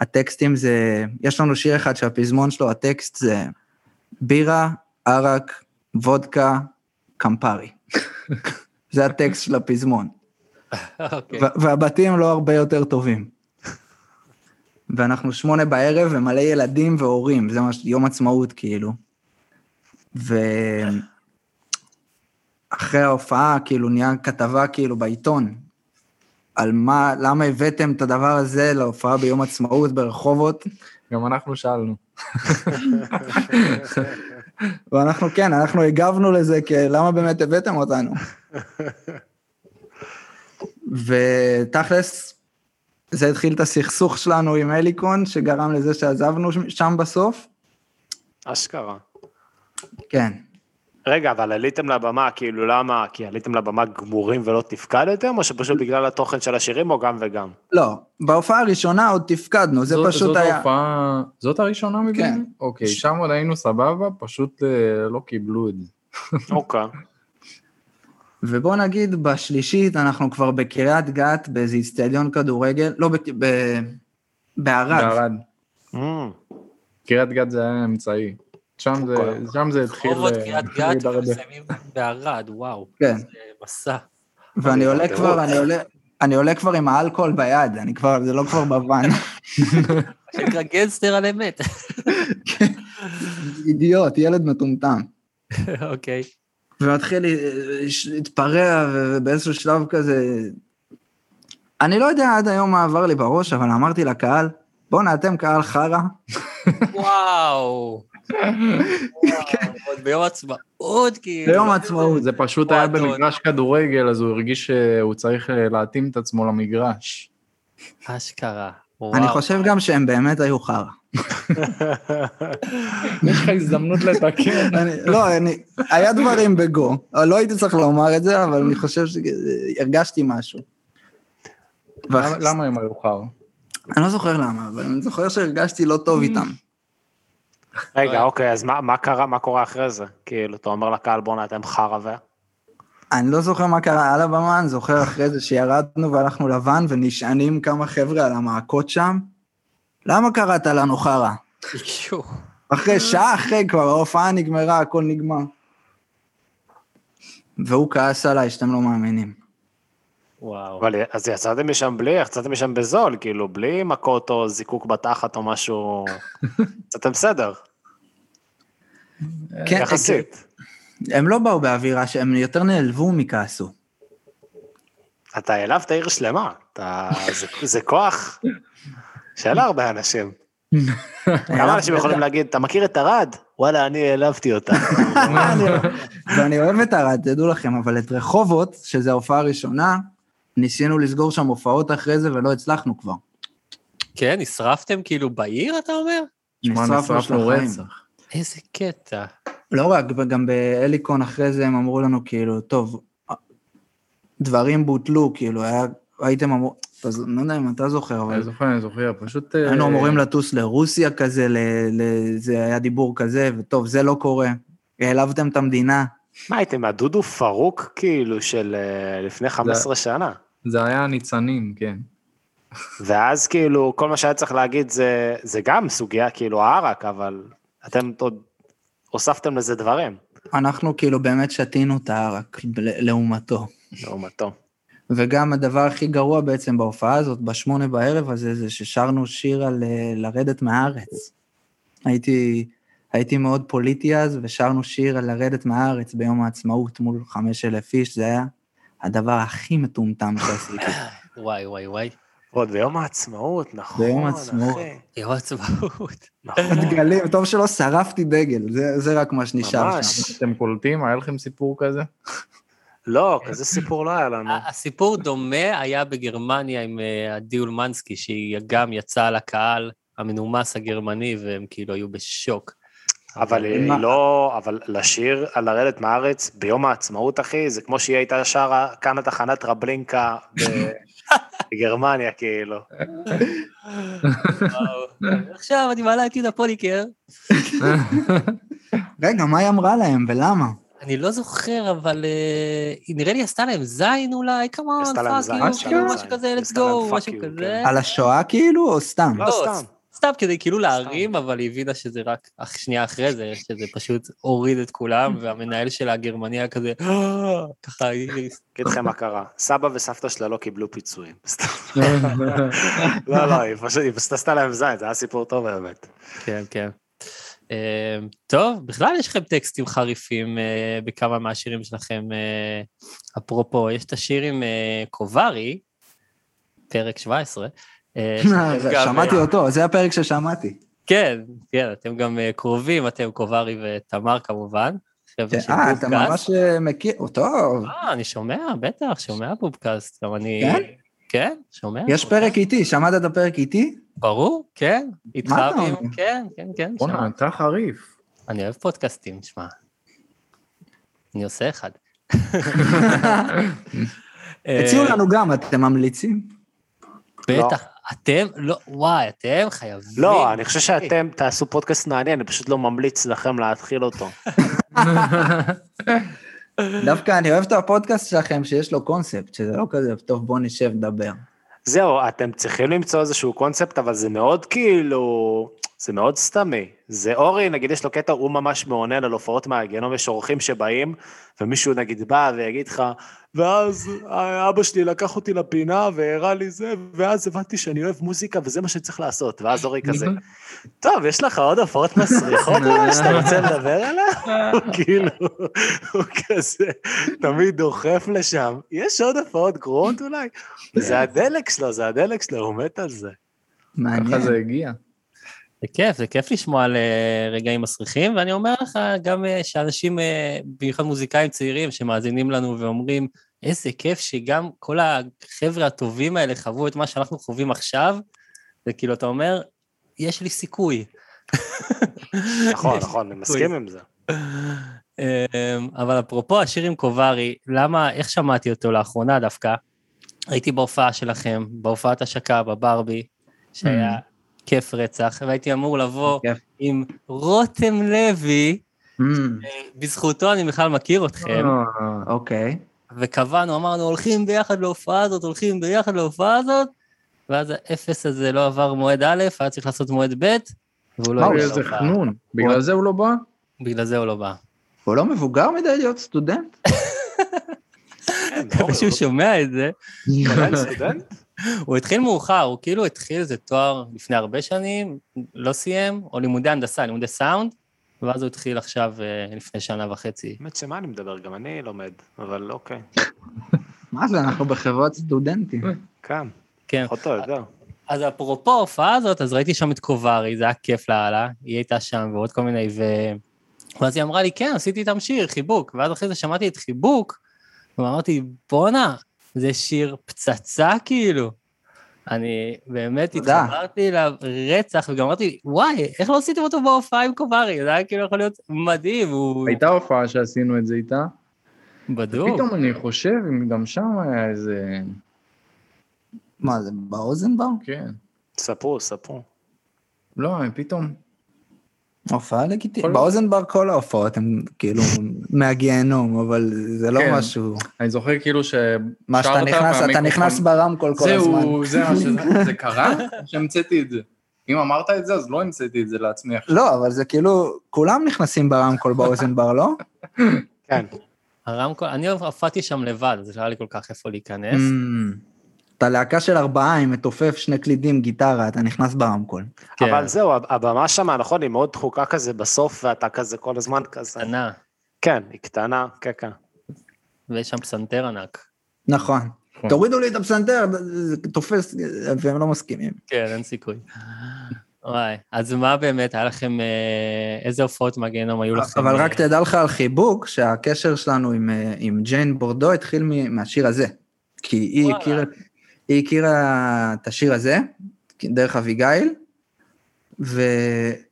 Speaker 5: הטקסטים זה, יש לנו שיר אחד שהפזמון שלו, הטקסט זה בירה, ערק, וודקה, קמפרי. זה הטקסט של הפזמון.
Speaker 2: אוקיי.
Speaker 5: ו- והבתים לא הרבה יותר טובים. ואנחנו שמונה בערב ומלא ילדים והורים, זה ממש יום עצמאות כאילו. ואחרי ההופעה, כאילו, נהיה כתבה כאילו בעיתון, על מה, למה הבאתם את הדבר הזה להופעה ביום עצמאות ברחובות,
Speaker 4: גם אנחנו שאלנו.
Speaker 5: ואנחנו כן, אנחנו הגבנו לזה, כי למה באמת הבאתם אותנו? ותכלס, זה התחיל את הסכסוך שלנו עם אליקון, שגרם לזה שעזבנו ש- שם בסוף.
Speaker 1: אשכרה.
Speaker 5: כן.
Speaker 1: רגע, אבל עליתם לבמה, כאילו, למה? כי עליתם לבמה גמורים ולא תפקדתם, או שפשוט בגלל התוכן של השירים, או גם וגם?
Speaker 5: לא, בהופעה הראשונה עוד תפקדנו, זה
Speaker 4: זאת-
Speaker 5: פשוט
Speaker 4: זאת
Speaker 5: היה...
Speaker 4: ההופעה... זאת הראשונה מבין?
Speaker 5: כן.
Speaker 4: אוקיי, שם עוד היינו סבבה, פשוט אה, לא קיבלו את זה.
Speaker 1: אוקיי.
Speaker 5: ובוא נגיד, בשלישית אנחנו כבר בקריית גת, באיזה איצטדיון כדורגל, לא, בק- ב- בערד.
Speaker 4: בערד.
Speaker 1: אמ,
Speaker 4: קריית גת זה היה אמצעי. שם זה, שם זה התחיל
Speaker 2: רוב עוד
Speaker 4: אה,
Speaker 2: קריית
Speaker 4: התחיל
Speaker 2: גת
Speaker 4: להתערבב.
Speaker 2: ומסיימים בערד, וואו.
Speaker 5: כן.
Speaker 2: זה מסע.
Speaker 5: ואני עולה
Speaker 1: טירוף.
Speaker 5: כבר, אני עולה... אני עולה כבר עם האלכוהול ביד, אני כבר, זה לא כבר בוואן.
Speaker 2: מה שנקרא גנסטר על אמת.
Speaker 5: אידיוט, ילד מטומטם.
Speaker 2: אוקיי.
Speaker 5: ומתחיל לה- ש- להתפרע, ובאיזשהו שלב כזה... אני לא יודע עד היום מה עבר לי בראש, אבל אמרתי לקהל, בואנה, אתם קהל חרא,
Speaker 2: וואו.
Speaker 5: כן.
Speaker 2: וואו, עוד ביום עצמאות, כאילו.
Speaker 5: ביום העצמאות.
Speaker 4: זה פשוט היה
Speaker 2: מועדון.
Speaker 4: במגרש כדורגל, אז הוא הרגיש שהוא צריך אה, להתאים את עצמו למגרש.
Speaker 2: אשכרה.
Speaker 5: אני
Speaker 2: וואו.
Speaker 5: חושב גם שהם באמת היו חרא.
Speaker 4: יש לך הזדמנות לתקן.
Speaker 5: אני- לא, אני- היה דברים בגו, אבל לא הייתי צריך לומר את זה, אבל אני חושב שהרגשתי משהו.
Speaker 4: למה-
Speaker 5: ואח-
Speaker 4: למה הם היו חר?
Speaker 5: אני לא זוכר למה, אבל אני זוכר שהרגשתי לא
Speaker 4: Mm.
Speaker 5: טוב איתם.
Speaker 1: רגע, אוקיי, אז מה- מה קרה, מה קורה אחרי זה? כאילו, אתה אומר לקהל, בואנה, אתם חרא ו...
Speaker 5: אני לא זוכר מה קרה על הבמה, אני זוכר אחרי זה שירדנו והלכנו לבן ונשענים כמה חבר'ה על המעקות שם. למה קראת לנו חרא?
Speaker 2: יואו.
Speaker 5: אחרי שעה אחרי כבר ההופעה נגמרה, הכל נגמר. והוא כעס עליי, שאתם לא מאמינים.
Speaker 2: וואו.
Speaker 1: אבל אז יצאתם משם בלי, יצאתם משם בזול, כאילו, בלי מכות או זיקוק בתחת או משהו, יצאתם בסדר,
Speaker 5: כן,
Speaker 1: יחסית.
Speaker 5: הם לא באו באווירה, ש- הם יותר נעלבו מכעסו.
Speaker 1: אתה העלבת עיר שלמה, אתה... זה- זה כוח של הרבה אנשים. כמה אנשים יכולים להגיד, אתה מכיר את ארד? וואלה, אני העלבתי אותה.
Speaker 5: ואני אוהב את ערד, תדעו לכם, אבל את רחובות, שזו ההופעה הראשונה, ניסינו לסגור שם הופעות אחרי זה ולא הצלחנו כבר.
Speaker 2: כן, נשרפתם כאילו בעיר, אתה אומר?
Speaker 4: שמע,
Speaker 5: נשרפנו
Speaker 4: נשרפנו
Speaker 5: של החיים.
Speaker 4: רצח.
Speaker 2: איזה קטע.
Speaker 5: לא רק, גם באליקון אחרי זה הם אמרו לנו, כאילו, טוב, דברים בוטלו, כאילו, היה, הייתם אמור... אתה ז- לא יודע אם אתה זוכר,
Speaker 4: אני
Speaker 5: אבל
Speaker 4: זוכר, אני זוכר, פשוט... אה,
Speaker 5: היינו אמורים לטוס לרוסיה כזה, ל, ל, זה היה דיבור כזה, וטוב, זה לא קורה. העלבתם את המדינה.
Speaker 1: מה הייתם, הדודו פרוק כאילו של אה, לפני 15 שנה?
Speaker 4: זה היה הניצנים, כן.
Speaker 1: ואז כאילו, כל מה שהיה צריך להגיד זה, זה גם סוגיה, כאילו, הערק, אבל אתם עוד הוספתם לזה דברים,
Speaker 5: אנחנו כאילו באמת שתינו את הערק ל- לעומתו.
Speaker 1: לעומתו.
Speaker 5: וגם הדבר הכי גרוע בעצם בהופעה הזאת, בשמונה בערב הזה, זה ששרנו שיר על אה, לרדת מהארץ. הייתי, הייתי מאוד פוליטי אז, ושרנו שיר על לרדת מהארץ ביום העצמאות מול חמש אלף איש, זה היה הדבר הכי מטומטם שעשיתי.
Speaker 2: וואי, וואי, וואי.
Speaker 1: עוד ביום העצמאות, נכון,
Speaker 5: ביום העצמאות.
Speaker 1: אחי,
Speaker 2: יום עצמאות.
Speaker 1: נכון.
Speaker 5: דגלים, טוב שלא שרפתי דגל, זה, זה רק מה שנשאר
Speaker 1: ממש.
Speaker 5: שם.
Speaker 4: אתם קולטים? היה לכם סיפור כזה?
Speaker 1: לא, כזה סיפור לא היה לנו.
Speaker 2: הסיפור דומה היה בגרמניה עם אה, עדי אולמנסקי, שהיא גם יצאה לקהל המנומס הגרמני, והם כאילו היו בשוק.
Speaker 1: אבל היא
Speaker 5: מה?
Speaker 1: לא, אבל לשיר על לרדת מהארץ ביום העצמאות, אחי, זה כמו שהיא הייתה שרה כאן התחנת רבלינקה ב- בגרמניה, כאילו.
Speaker 2: וואו. עכשיו אני מעלה את יהודה פוליקר.
Speaker 5: רגע, מה היא אמרה להם ולמה?
Speaker 2: אני לא זוכר, אבל אה, היא נראה לי עשתה להם זין אולי, כמובן,
Speaker 1: עשתה להם זין,
Speaker 2: פאק
Speaker 1: עשתה
Speaker 2: יו,
Speaker 1: להם
Speaker 2: כאילו, משהו
Speaker 1: זין.
Speaker 2: כזה, let's
Speaker 1: עשתה להם
Speaker 2: go,
Speaker 1: fuck
Speaker 2: משהו
Speaker 1: you,
Speaker 2: כזה.
Speaker 1: כן.
Speaker 5: על השואה כאילו, או סתם?
Speaker 1: לא,
Speaker 2: לא,
Speaker 1: סתם.
Speaker 2: סתם כדי כאילו להרים, אבל היא הבינה שזה רק אך שנייה אחרי זה, שזה פשוט הוריד את כולם, והמנהל שלה הגרמני היה כזה, "אה", ככה, היא-
Speaker 1: אגיד לכם מה קרה, סבא וסבתא שלה לא קיבלו פיצויים. סתם. לא, לא, היא פשוט, היא פשוט עשתה להם זין, זה היה סיפור טוב באמת.
Speaker 2: כן, כן. אה, טוב, בכלל יש לכם טקסטים חריפים אה, בכמה מהשירים שלכם. אה, אפרופו, יש את השיר עם אה, קוברי, פרק 17. אה, שאתם גם,
Speaker 5: שמעתי
Speaker 2: אה,
Speaker 5: אותו, זה הפרק ששמעתי.
Speaker 2: כן, כן, אתם גם אה, קרובים, אתם קוברי ותמר כמובן. חבר'ה של
Speaker 5: אה, אתה
Speaker 2: בובקאסט.
Speaker 5: ממש אה, מכיר, או, טוב.
Speaker 2: אה, אני שומע, בטח, שומע בובקאסט, גם אני...
Speaker 5: כן?
Speaker 2: כן, שומע.
Speaker 5: יש
Speaker 2: בובקאסט.
Speaker 5: פרק איתי, שמעת את הפרק איתי?
Speaker 2: ברור, כן, איתך
Speaker 5: אתה
Speaker 2: ועם-
Speaker 5: אומר?
Speaker 2: כן, כן, כן,
Speaker 4: בואנה,
Speaker 2: שמעתי.
Speaker 4: אתה חריף.
Speaker 2: אני אוהב פודקאסטים, תשמע. אני עושה אחד.
Speaker 4: אה,
Speaker 2: אה,
Speaker 5: הציעו לנו גם, אתם ממליצים?
Speaker 2: בטח, אתם, לא, וואי, אתם חייבים.
Speaker 1: לא, אני חושב שאתם תעשו פודקאסט מעניין, אני פשוט לא ממליץ לכם להתחיל אותו.
Speaker 5: דווקא אני אוהב את הפודקאסט שלכם, שיש לו קונספט, שזה לא כזה, טוב, בוא נשב, נדבר.
Speaker 1: זהו, אתם צריכים למצוא איזשהו קונספט, אבל זה מאוד כאילו, זה מאוד סתמי. זה אורי, נגיד, יש לו קטע, הוא ממש מעונן על הופעות מהגיהנום, יש אורחים שבאים, ומישהו נגיד בא ויגיד לך, ואז אבא שלי לקח אותי לפינה והראה לי זה, ואז הבנתי שאני אוהב מוזיקה וזה מה שצריך לעשות. ואז אורי כזה, טוב, יש לך עוד הופעות מסריחות אבל שאתה רוצה לדבר עליה? הוא כאילו, הוא כזה, תמיד דוחף לשם. יש עוד הופעות גרועות אולי? זה
Speaker 2: כן.
Speaker 1: הדלק שלו, זה הדלק שלו, הוא מת על זה.
Speaker 4: ככה
Speaker 5: מעניין.
Speaker 4: זה הגיע.
Speaker 2: זה כיף, זה כיף לשמוע על אה, רגעים מסריחים, ואני אומר לך גם אה, שאנשים, אה, במיוחד מוזיקאים צעירים, שמאזינים לנו ואומרים, איזה כיף שגם כל החבר'ה הטובים האלה חוו את מה שאנחנו חווים עכשיו, וכאילו, אתה אומר, יש לי סיכוי.
Speaker 1: נכון, נכון, אני מסכים עם זה.
Speaker 2: כן, אמ, אבל אפרופו השיר עם קוברי, למה, איך שמעתי אותו לאחרונה דווקא? הייתי בהופעה שלכם, בהופעת השקה בברבי, שהיה כיף רצח, והייתי אמור לבוא
Speaker 5: כיף.
Speaker 2: עם רותם לוי,
Speaker 5: Mm,
Speaker 2: בזכותו אני בכלל מכיר אתכם,
Speaker 4: אה,
Speaker 5: אוקיי.
Speaker 2: וקבענו, אמרנו, הולכים ביחד להופעה הזאת, הולכים ביחד להופעה הזאת, ואז האפס הזה לא עבר מועד א', היה צריך לעשות מועד ב', והוא לא
Speaker 5: מה,
Speaker 2: הגיע
Speaker 5: הוא
Speaker 4: איזה
Speaker 2: להופעה.
Speaker 4: חנון. בגלל זה הוא לא בא?
Speaker 2: בגלל זה הוא לא בא.
Speaker 5: הוא לא מבוגר מדי להיות סטודנט?
Speaker 1: אורי,
Speaker 2: כשהוא שומע את זה,
Speaker 1: הוא
Speaker 4: נכון.
Speaker 1: עדיין כן,
Speaker 2: כן.
Speaker 1: סטודנט?
Speaker 2: הוא התחיל מאוחר, הוא כאילו התחיל איזה תואר לפני הרבה שנים, לא סיים, או לימודי הנדסה, לימודי סאונד, ואז הוא התחיל עכשיו, אה, לפני שנה וחצי.
Speaker 1: האמת שמה אני מדבר, גם אני לומד, אבל אוקיי.
Speaker 5: מה זה, אנחנו בחברת סטודנטים.
Speaker 1: כן,
Speaker 2: כן.
Speaker 1: פחות או יותר.
Speaker 2: אז אפרופו ההופעה הזאת, אז ראיתי שם את קוברי, זה היה כיף לאללה, היא הייתה שם ועוד כל מיני, ו... ואז היא אמרה לי, כן, עשיתי איתם שיר, חיבוק. ואז אחרי זה שמעתי את חיבוק, ואמרתי, בואנה, זה שיר פצצה כאילו. אני באמת
Speaker 5: תודה.
Speaker 2: התחברתי אליו רצח, וגם אמרתי, וואי, איך לא עשיתם אותו בהופעה עם קוברי? זה היה כאילו יכול להיות מדהים, הוא
Speaker 4: הייתה הופעה שעשינו את זה איתה.
Speaker 2: בדוק.
Speaker 4: פתאום אני חושב, אם גם שם היה איזה...
Speaker 5: מה, זה באוזן באו?
Speaker 4: כן.
Speaker 1: ספרו, ספרו.
Speaker 4: לא, פתאום.
Speaker 5: הופעה לגיטימית.
Speaker 4: כל-
Speaker 5: באוזן בר כל ההופעות הן כאילו מהגיהנום, אבל זה לא
Speaker 4: כן.
Speaker 5: משהו...
Speaker 4: אני זוכר כאילו ש...
Speaker 5: מה שאתה
Speaker 4: שרת אותה
Speaker 5: נכנס, אתה
Speaker 4: והמיקרופון-
Speaker 5: נכנס ברמקול כל הזמן.
Speaker 4: זהו, זה מה שזה... זה קרה? שהמצאתי את זה. אם אמרת את זה, אז לא המצאתי את זה לעצמי עכשיו.
Speaker 5: לא, אבל זה כאילו, כולם נכנסים ברמקול באוזן בר, לא?
Speaker 1: כן.
Speaker 2: הרמקול, אני הופעתי שם לבד, אז לא היה לי כל כך איפה להיכנס.
Speaker 5: Mm. אתה להקה של ארבעה עם מתופף שני קלידים, גיטרה, אתה נכנס ברמקול.
Speaker 2: כן,
Speaker 1: אבל זהו, הב- הבמה שם, נכון, היא מאוד דחוקה כזה בסוף, ואתה כזה כל הזמן כזה.
Speaker 2: קטנה,
Speaker 1: כן, היא קטנה, כן, כן.
Speaker 2: ויש שם פסנתר ענק.
Speaker 5: נכון.
Speaker 4: נכון.
Speaker 5: תורידו לי את הפסנתר, זה- זה תופס, והם לא מסכימים.
Speaker 2: כן, אין סיכוי. וואי, אז מה באמת, היה לכם, אה, איזה הופעות מהגיהנום היו לכם?
Speaker 5: אבל
Speaker 2: אה,
Speaker 5: רק תדע לך על חיבוק, שהקשר שלנו עם, אה, עם ג'יין בורדו התחיל מ- מהשיר הזה. כי היא
Speaker 2: וואלה.
Speaker 5: הכירה, היא הכירה את השיר הזה, דרך אביגיל, והיא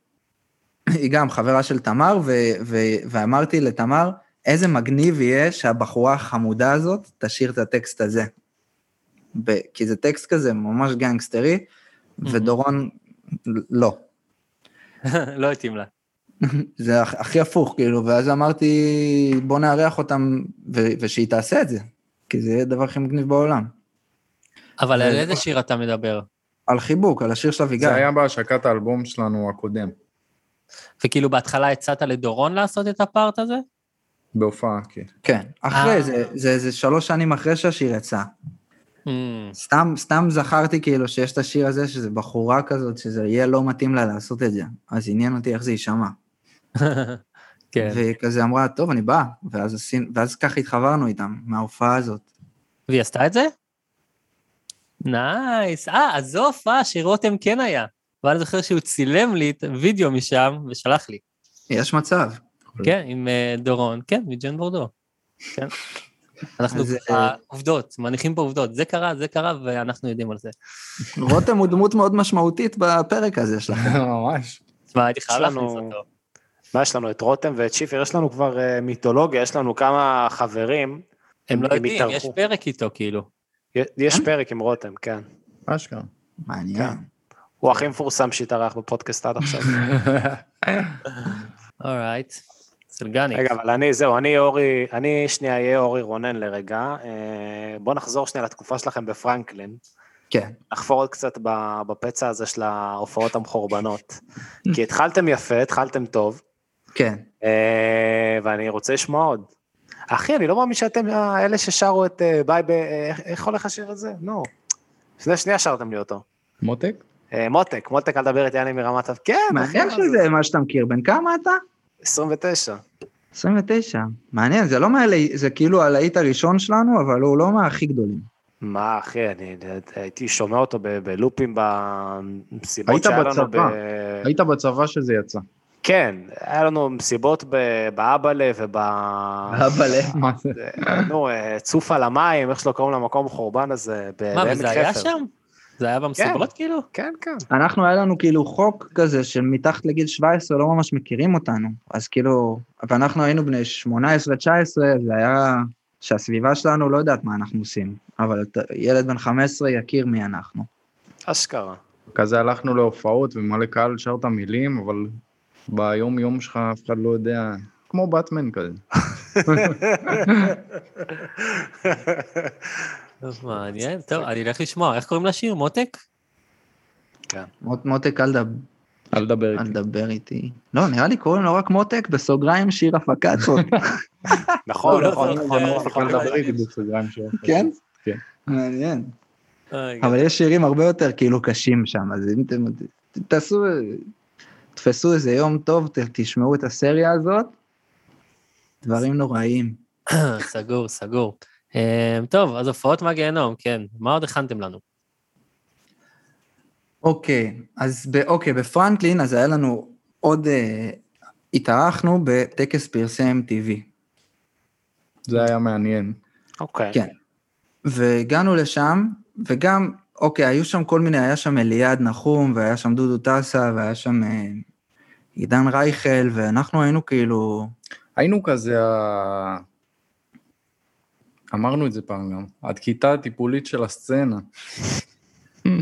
Speaker 5: גם חברה של תמר, ו, ו, ואמרתי לתמר, איזה מגניב יהיה שהבחורה החמודה הזאת תשאיר את הטקסט הזה. ב, כי זה טקסט כזה ממש גנגסטרי, ודורון, לא.
Speaker 2: לא התאים לה.
Speaker 5: זה הכ- הכי הפוך, כאילו, ואז אמרתי, בוא נארח אותם, ו- ושהיא תעשה את זה, כי זה יהיה הדבר הכי מגניב בעולם.
Speaker 2: אבל על
Speaker 5: אה,
Speaker 2: איזה שיר אתה מדבר?
Speaker 5: על חיבוק, על השיר של אביגיל.
Speaker 4: זה היה בהשקת האלבום שלנו הקודם,
Speaker 2: וכאילו בהתחלה הצעת לדורון לעשות את הפארט הזה?
Speaker 4: בהופעה, כן.
Speaker 5: כן, אחרי
Speaker 2: אה.
Speaker 5: זה, זה, זה שלוש שנים אחרי שהשיר יצא.
Speaker 2: Hmm.
Speaker 5: סתם, סתם זכרתי כאילו שיש את השיר הזה, שזה בחורה כזאת, שזה יהיה לא מתאים לה לעשות את זה. אז עניין אותי איך זה יישמע.
Speaker 2: כן.
Speaker 5: והיא כזה אמרה, טוב, אני באה. ואז, עשינו, ואז ככה התחברנו איתם, מההופעה הזאת.
Speaker 2: והיא עשתה את זה? נייס. אה, אז זו הופעה שרותם כן היה. ואני זוכר שהוא צילם לי את וידאו משם ושלח לי.
Speaker 5: יש מצב.
Speaker 2: כן, עם אה, דורון, כן, מג'ן בורדו. כן. אנחנו
Speaker 5: אז, אה,
Speaker 2: ככה, עובדות, מניחים פה עובדות. זה קרה, זה קרה, ואנחנו יודעים על זה.
Speaker 5: רותם הוא דמות מאוד משמעותית בפרק הזה שלכם.
Speaker 4: ממש.
Speaker 2: תשמע, הייתי חייב
Speaker 1: יש לנו-
Speaker 2: להכניס אותו.
Speaker 1: מה יש לנו? את רותם ואת שיפר, יש לנו כבר אה, מיתולוגיה, יש לנו כמה חברים.
Speaker 2: הם לא יודעים, יש
Speaker 1: התארחו.
Speaker 2: פרק איתו, כאילו.
Speaker 1: י- יש פרק עם רותם, כן.
Speaker 4: אשכרה.
Speaker 5: מעניין.
Speaker 2: כן.
Speaker 1: הוא הכי מפורסם שהתארח בפודקאסט עד עכשיו.
Speaker 2: אורייט. סלגניק.
Speaker 1: רגע, אבל אני, זהו, אני אורי, אני שנייה אהיה אורי רונן לרגע. אה, בוא נחזור שנייה לתקופה שלכם בפרנקלין.
Speaker 5: כן.
Speaker 1: לחפור עוד קצת ב- בפצע הזה של ההופעות המחורבנות. כי התחלתם יפה, התחלתם טוב,
Speaker 5: כן.
Speaker 1: אה, ואני רוצה לשמוע עוד. אחי, אני לא מאמין שאתם אלה ששרו את אה, ביי, ב- אה, איך- איך הולך השיר הזה? נו. לפני שנייה שרתם לי אותו.
Speaker 4: מותק?
Speaker 1: אה, מותק, מותק, אל תדבר איתי, אני מרמת... אב- כן, אחי,
Speaker 5: מעניין
Speaker 1: מה זה?
Speaker 5: שזה מה שאתה מכיר. בן כמה אתה?
Speaker 1: 29.
Speaker 5: 29. מעניין, זה לא מהלה... זה כאילו הלהיט הראשון שלנו, אבל הוא לא מהכי גדולים.
Speaker 1: מה, אחי, אני הייתי שומע אותו ב- בלופים במסיבות
Speaker 4: היית
Speaker 1: שהיה לנו ב...
Speaker 4: בצבא. היית בצבא שזה יצא.
Speaker 1: כן, היה לנו מסיבות ב- באבאלה וב...
Speaker 5: אה, אבל...
Speaker 4: מה זה?
Speaker 1: נו, אה, צוף על המים, איך שלא קוראים למקום החורבן הזה, ב-
Speaker 2: מה,
Speaker 1: בעמק
Speaker 2: וזה היה
Speaker 1: חפר.
Speaker 2: שם? זה היה במסיבות כאילו?
Speaker 1: כן, כן.
Speaker 5: אנחנו, היה לנו כאילו חוק כזה של מתחת לגיל 17 לא ממש מכירים אותנו, אז כאילו, ואנחנו היינו בני 18-19, זה היה שהסביבה שלנו לא יודעת מה אנחנו עושים, אבל ת- ילד בן 15 יכיר מי אנחנו.
Speaker 1: אשכרה.
Speaker 4: כזה הלכנו להופעות ומלא קהל שר את המילים, אבל ביום יום שלך אף אחד לא יודע, כמו באטמן כזה.
Speaker 2: טוב, מעניין, טוב, אני אלך לשמוע, איך קוראים לשיר? מותק?
Speaker 5: מות, מותק, אל, דב,
Speaker 4: אל תדבר
Speaker 5: אל
Speaker 4: איתי.
Speaker 5: דבר איתי. לא, נראה לי קוראים לו רק מותק, בסוגריים שיר הפקת.
Speaker 1: נכון,
Speaker 2: לא, לא,
Speaker 1: נכון,
Speaker 2: זה-
Speaker 1: נכון,
Speaker 2: זה-
Speaker 1: נכון, נכון.
Speaker 4: אל תדבר איתי בסוגריים שלו.
Speaker 5: כן?
Speaker 4: כן.
Speaker 5: מעניין.
Speaker 2: אה,
Speaker 5: אבל יש שירים הרבה יותר כאילו קשים שם, אז אם אתם תעשו, תפסו איזה יום טוב, ת- תשמעו את הסריה הזאת, דברים נוראים.
Speaker 2: אה, סגור, סגור. אמ, טוב, אז הופעות מהגיהנום, כן. מה עוד הכנתם לנו?
Speaker 5: אוקיי, אז ב, אוקיי, בפרנקלין, אז היה לנו עוד, אה, התארחנו בטקס פרסי MTV,
Speaker 4: זה היה מעניין.
Speaker 1: אוקיי.
Speaker 5: כן. והגענו לשם, וגם, אוקיי, היו שם כל מיני, היה שם אליעד נחום, והיה שם דודו טסה, והיה שם אה, עידן רייכל, ואנחנו היינו כאילו,
Speaker 4: היינו כזה ה... אמרנו את זה פעם גם, הכיתה הטיפולית של הסצנה.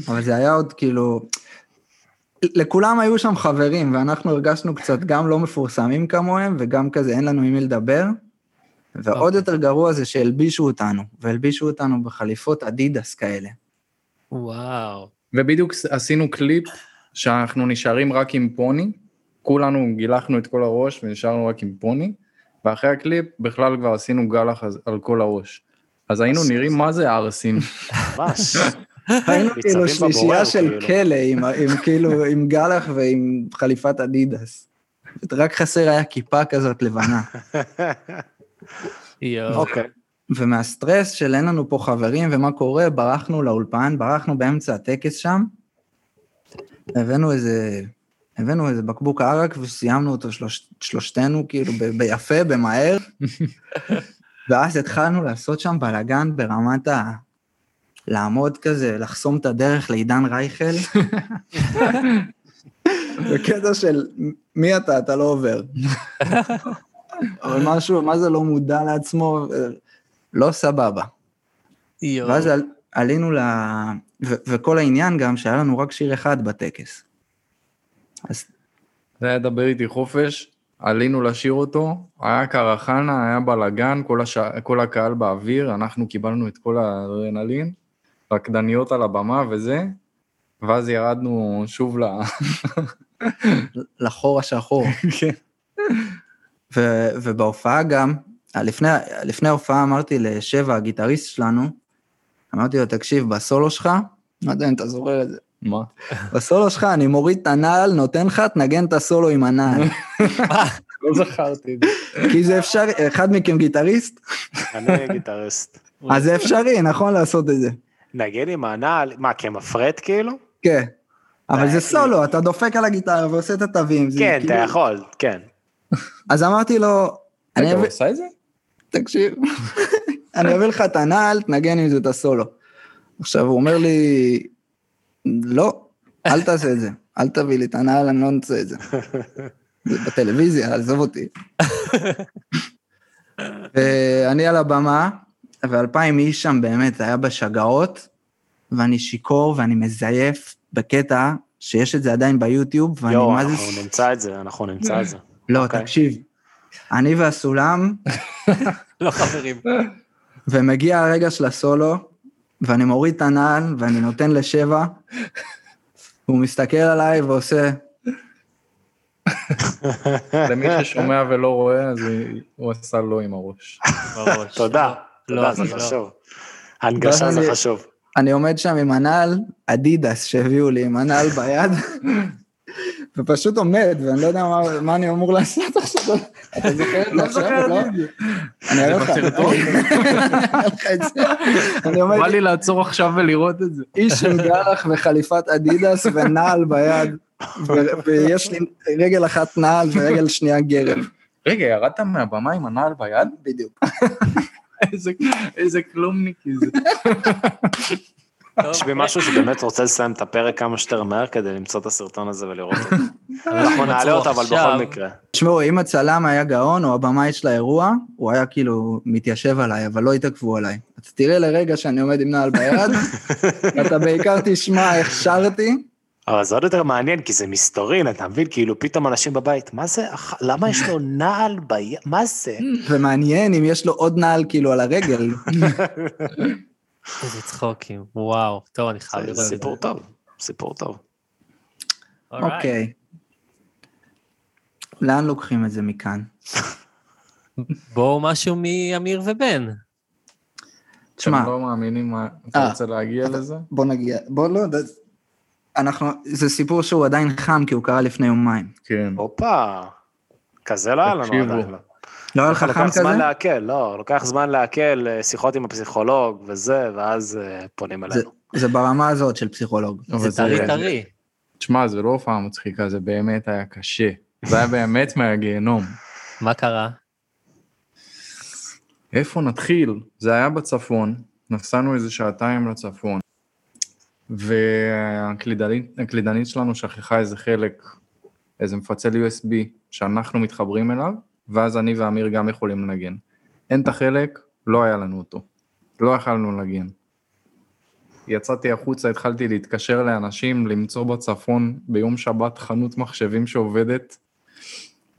Speaker 5: אבל זה היה עוד כאילו... לכולם היו שם חברים, ואנחנו הרגשנו קצת גם לא מפורסמים כמוהם, וגם כזה אין לנו עם מי לדבר. ועוד
Speaker 2: אוקיי.
Speaker 5: יותר גרוע זה שהלבישו אותנו, והלבישו אותנו בחליפות אדידס כאלה.
Speaker 2: וואו.
Speaker 4: ובדיוק ס- עשינו קליפ שאנחנו נשארים רק עם פוני, כולנו גילחנו את כל הראש ונשארנו רק עם פוני, ואחרי הקליפ בכלל כבר עשינו גלח אז- על כל הראש. אז היינו
Speaker 1: אז-
Speaker 4: נראים מה זה ערסים.
Speaker 1: ממש.
Speaker 5: היינו
Speaker 1: ניצבים
Speaker 5: כאילו
Speaker 1: בבורר,
Speaker 5: שלישייה של
Speaker 1: כאילו.
Speaker 5: כלא, עם- עם כאילו, עם גלח ועם חליפת אדידס. רק חסר היה כיפה כזאת לבנה.
Speaker 2: יואו.
Speaker 1: אוקיי.
Speaker 5: ומהסטרס של אין לנו פה חברים ומה קורה, ברחנו לאולפן, ברחנו באמצע הטקס שם, הבאנו איזה, הבאנו איזה בקבוק ערק וסיימנו אותו שלוש, שלושתנו, כאילו ב, ביפה, במהר, ואז התחלנו לעשות שם בלאגן ברמת ה... לעמוד כזה, לחסום את הדרך לעידן רייכל. בקטע של מי אתה, אתה לא עובר. אבל משהו, מה זה לא מודע לעצמו, לא סבבה.
Speaker 2: יואו.
Speaker 5: ואז על, עלינו ל... ו, וכל העניין גם שהיה לנו רק שיר אחד בטקס. אז
Speaker 4: זה היה דבר איתי חופש, עלינו לשיר אותו, היה קרחנה, היה בלאגן, כל, הש... כל הקהל באוויר, אנחנו קיבלנו את כל האדרנלין, רקדניות על הבמה וזה, ואז ירדנו שוב ל...
Speaker 5: לחור השחור.
Speaker 4: כן.
Speaker 5: ו, ובהופעה גם, לפני, לפני ההופעה אמרתי לשבע, הגיטריסט שלנו, אמרתי לו, תקשיב, בסולו שלך, לא יודע אם אתה זוכר את זה,
Speaker 4: מה?
Speaker 5: בסולו שלך אני מוריד את הנעל, נותן לך, תנגן את הסולו עם הנעל.
Speaker 4: לא זכרתי את זה.
Speaker 5: כי זה אפשרי, אחד מכם גיטריסט,
Speaker 1: אני גיטריסט.
Speaker 5: אז זה אפשרי, נכון לעשות את זה.
Speaker 1: נגן עם הנעל, מה, כמפרט כאילו?
Speaker 5: כן. אבל זה סולו, אתה דופק על הגיטרה ועושה את התווים. זה
Speaker 1: אה, כן, אתה
Speaker 5: כאילו-
Speaker 1: יכול, כן.
Speaker 5: אז אמרתי לו, אני
Speaker 4: רגע, הוא
Speaker 5: אביא,
Speaker 4: עשה את זה?
Speaker 5: תקשיב, אני אביא לך את הנעל, תנגן עם זה את הסולו. עכשיו, הוא אומר לי, לא, אל תעשה את זה, אל תביא לי את הנעל, אני לא רוצה את זה. זה בטלוויזיה, עזוב אותי. ואני על הבמה, ואלפיים איש שם באמת, היה בשגעות, ואני שיכור ואני מזייף בקטע שיש את זה עדיין ביוטיוב, ואני
Speaker 1: יואו,
Speaker 5: מה זה...
Speaker 1: אנחנו נמצא את זה, אנחנו נמצא את זה.
Speaker 5: לא,
Speaker 1: אוקיי.
Speaker 5: תקשיב, אני והסולם,
Speaker 2: לא חברים.
Speaker 5: ומגיע הרגע של הסולו, ואני מוריד את הנעל ואני נותן לשבע, והוא מסתכל עליי ועושה,
Speaker 4: למי ששומע ולא רואה, אז הוא עשה לא עם הראש.
Speaker 2: בראש.
Speaker 1: תודה.
Speaker 2: לא,
Speaker 1: תודה,
Speaker 2: זה
Speaker 1: זה
Speaker 2: לא.
Speaker 1: חשוב. הנגשה זה
Speaker 5: אני-
Speaker 1: חשוב.
Speaker 5: אני עומד שם עם הנעל, אדידס שהביאו לי עם הנעל ביד, ופשוט עומד, ואני לא יודע מה, מה אני אמור לעשות עכשיו. אתה זוכר את זה עכשיו? לא? אני אראה לך. אני אראה לך את זה. אני עומד
Speaker 4: בא לי לעצור עכשיו ולראות את זה.
Speaker 5: איש עם גלח וחליפת אדידס ונעל ביד, ו- ויש לי רגל אחת נעל ורגל שנייה גרב.
Speaker 4: רגע, ירדת מהבמה עם הנעל ביד?
Speaker 5: בדיוק.
Speaker 4: איזה- איזה כלומניקי זה.
Speaker 2: טוב,
Speaker 1: יש בי משהו שבאמת רוצה לסיים את הפרק כמה שיותר מהר כדי למצוא את הסרטון הזה ולראות אותו. אנחנו נעלה
Speaker 2: נעצור
Speaker 1: אותו, אבל
Speaker 2: עכשיו.
Speaker 1: בכל מקרה.
Speaker 5: תשמעו, אם הצלם היה גאון או הבמאי של האירוע, הוא היה כאילו מתיישב עליי, אבל לא התעכבו עליי. אז תראה לרגע שאני עומד עם נעל ביד, ואתה בעיקר תשמע איך שרתי.
Speaker 1: אבל זה עוד יותר מעניין, כי זה מסתורין, אתה מבין? כאילו, פתאום אנשים בבית, מה זה, אח- למה יש לו נעל ביד? מה זה?
Speaker 5: ומעניין אם יש לו עוד נעל כאילו על הרגל.
Speaker 2: איזה צחוקים, וואו. טוב, אני חייב לראות
Speaker 1: זה
Speaker 2: את זה.
Speaker 1: סיפור טוב, סיפור טוב.
Speaker 2: Alright.
Speaker 5: אוקיי. לאן לוקחים את זה מכאן?
Speaker 2: בואו משהו מאמיר ובן.
Speaker 5: תשמע.
Speaker 4: אתם לא מאמינים מה... אתה
Speaker 5: אה.
Speaker 4: רוצה להגיע לזה?
Speaker 5: בוא נגיע, בוא לא, ד- אנחנו, זה סיפור שהוא עדיין חם כי הוא קרה לפני יומיים.
Speaker 4: כן.
Speaker 1: הופה, כזה לא היה לנו
Speaker 4: תקשיבו.
Speaker 1: עדיין.
Speaker 5: לא היה לך חם
Speaker 1: לוקח
Speaker 5: כזה?
Speaker 1: זמן לעכל, לא, לוקח זמן לעכל אה, שיחות עם הפסיכולוג וזה, ואז אה, פונים אלינו.
Speaker 5: זה ברמה הזאת של פסיכולוג.
Speaker 4: אבל
Speaker 2: זה טרי
Speaker 4: זה-
Speaker 2: טרי.
Speaker 4: תשמע, זה לא הופעה מצחיקה, זה באמת היה קשה. זה היה באמת מהגיהנום.
Speaker 2: מה קרה?
Speaker 4: איפה נתחיל? זה היה בצפון, נסענו איזה שעתיים לצפון, והקלידנית שלנו שכחה איזה חלק, איזה מפצל USB שאנחנו מתחברים אליו, ואז אני ואמיר גם יכולים לנגן. אין את החלק, לא היה לנו אותו. לא יכלנו לנגן. יצאתי החוצה, התחלתי להתקשר לאנשים, למצוא בצפון ביום שבת חנות מחשבים שעובדת.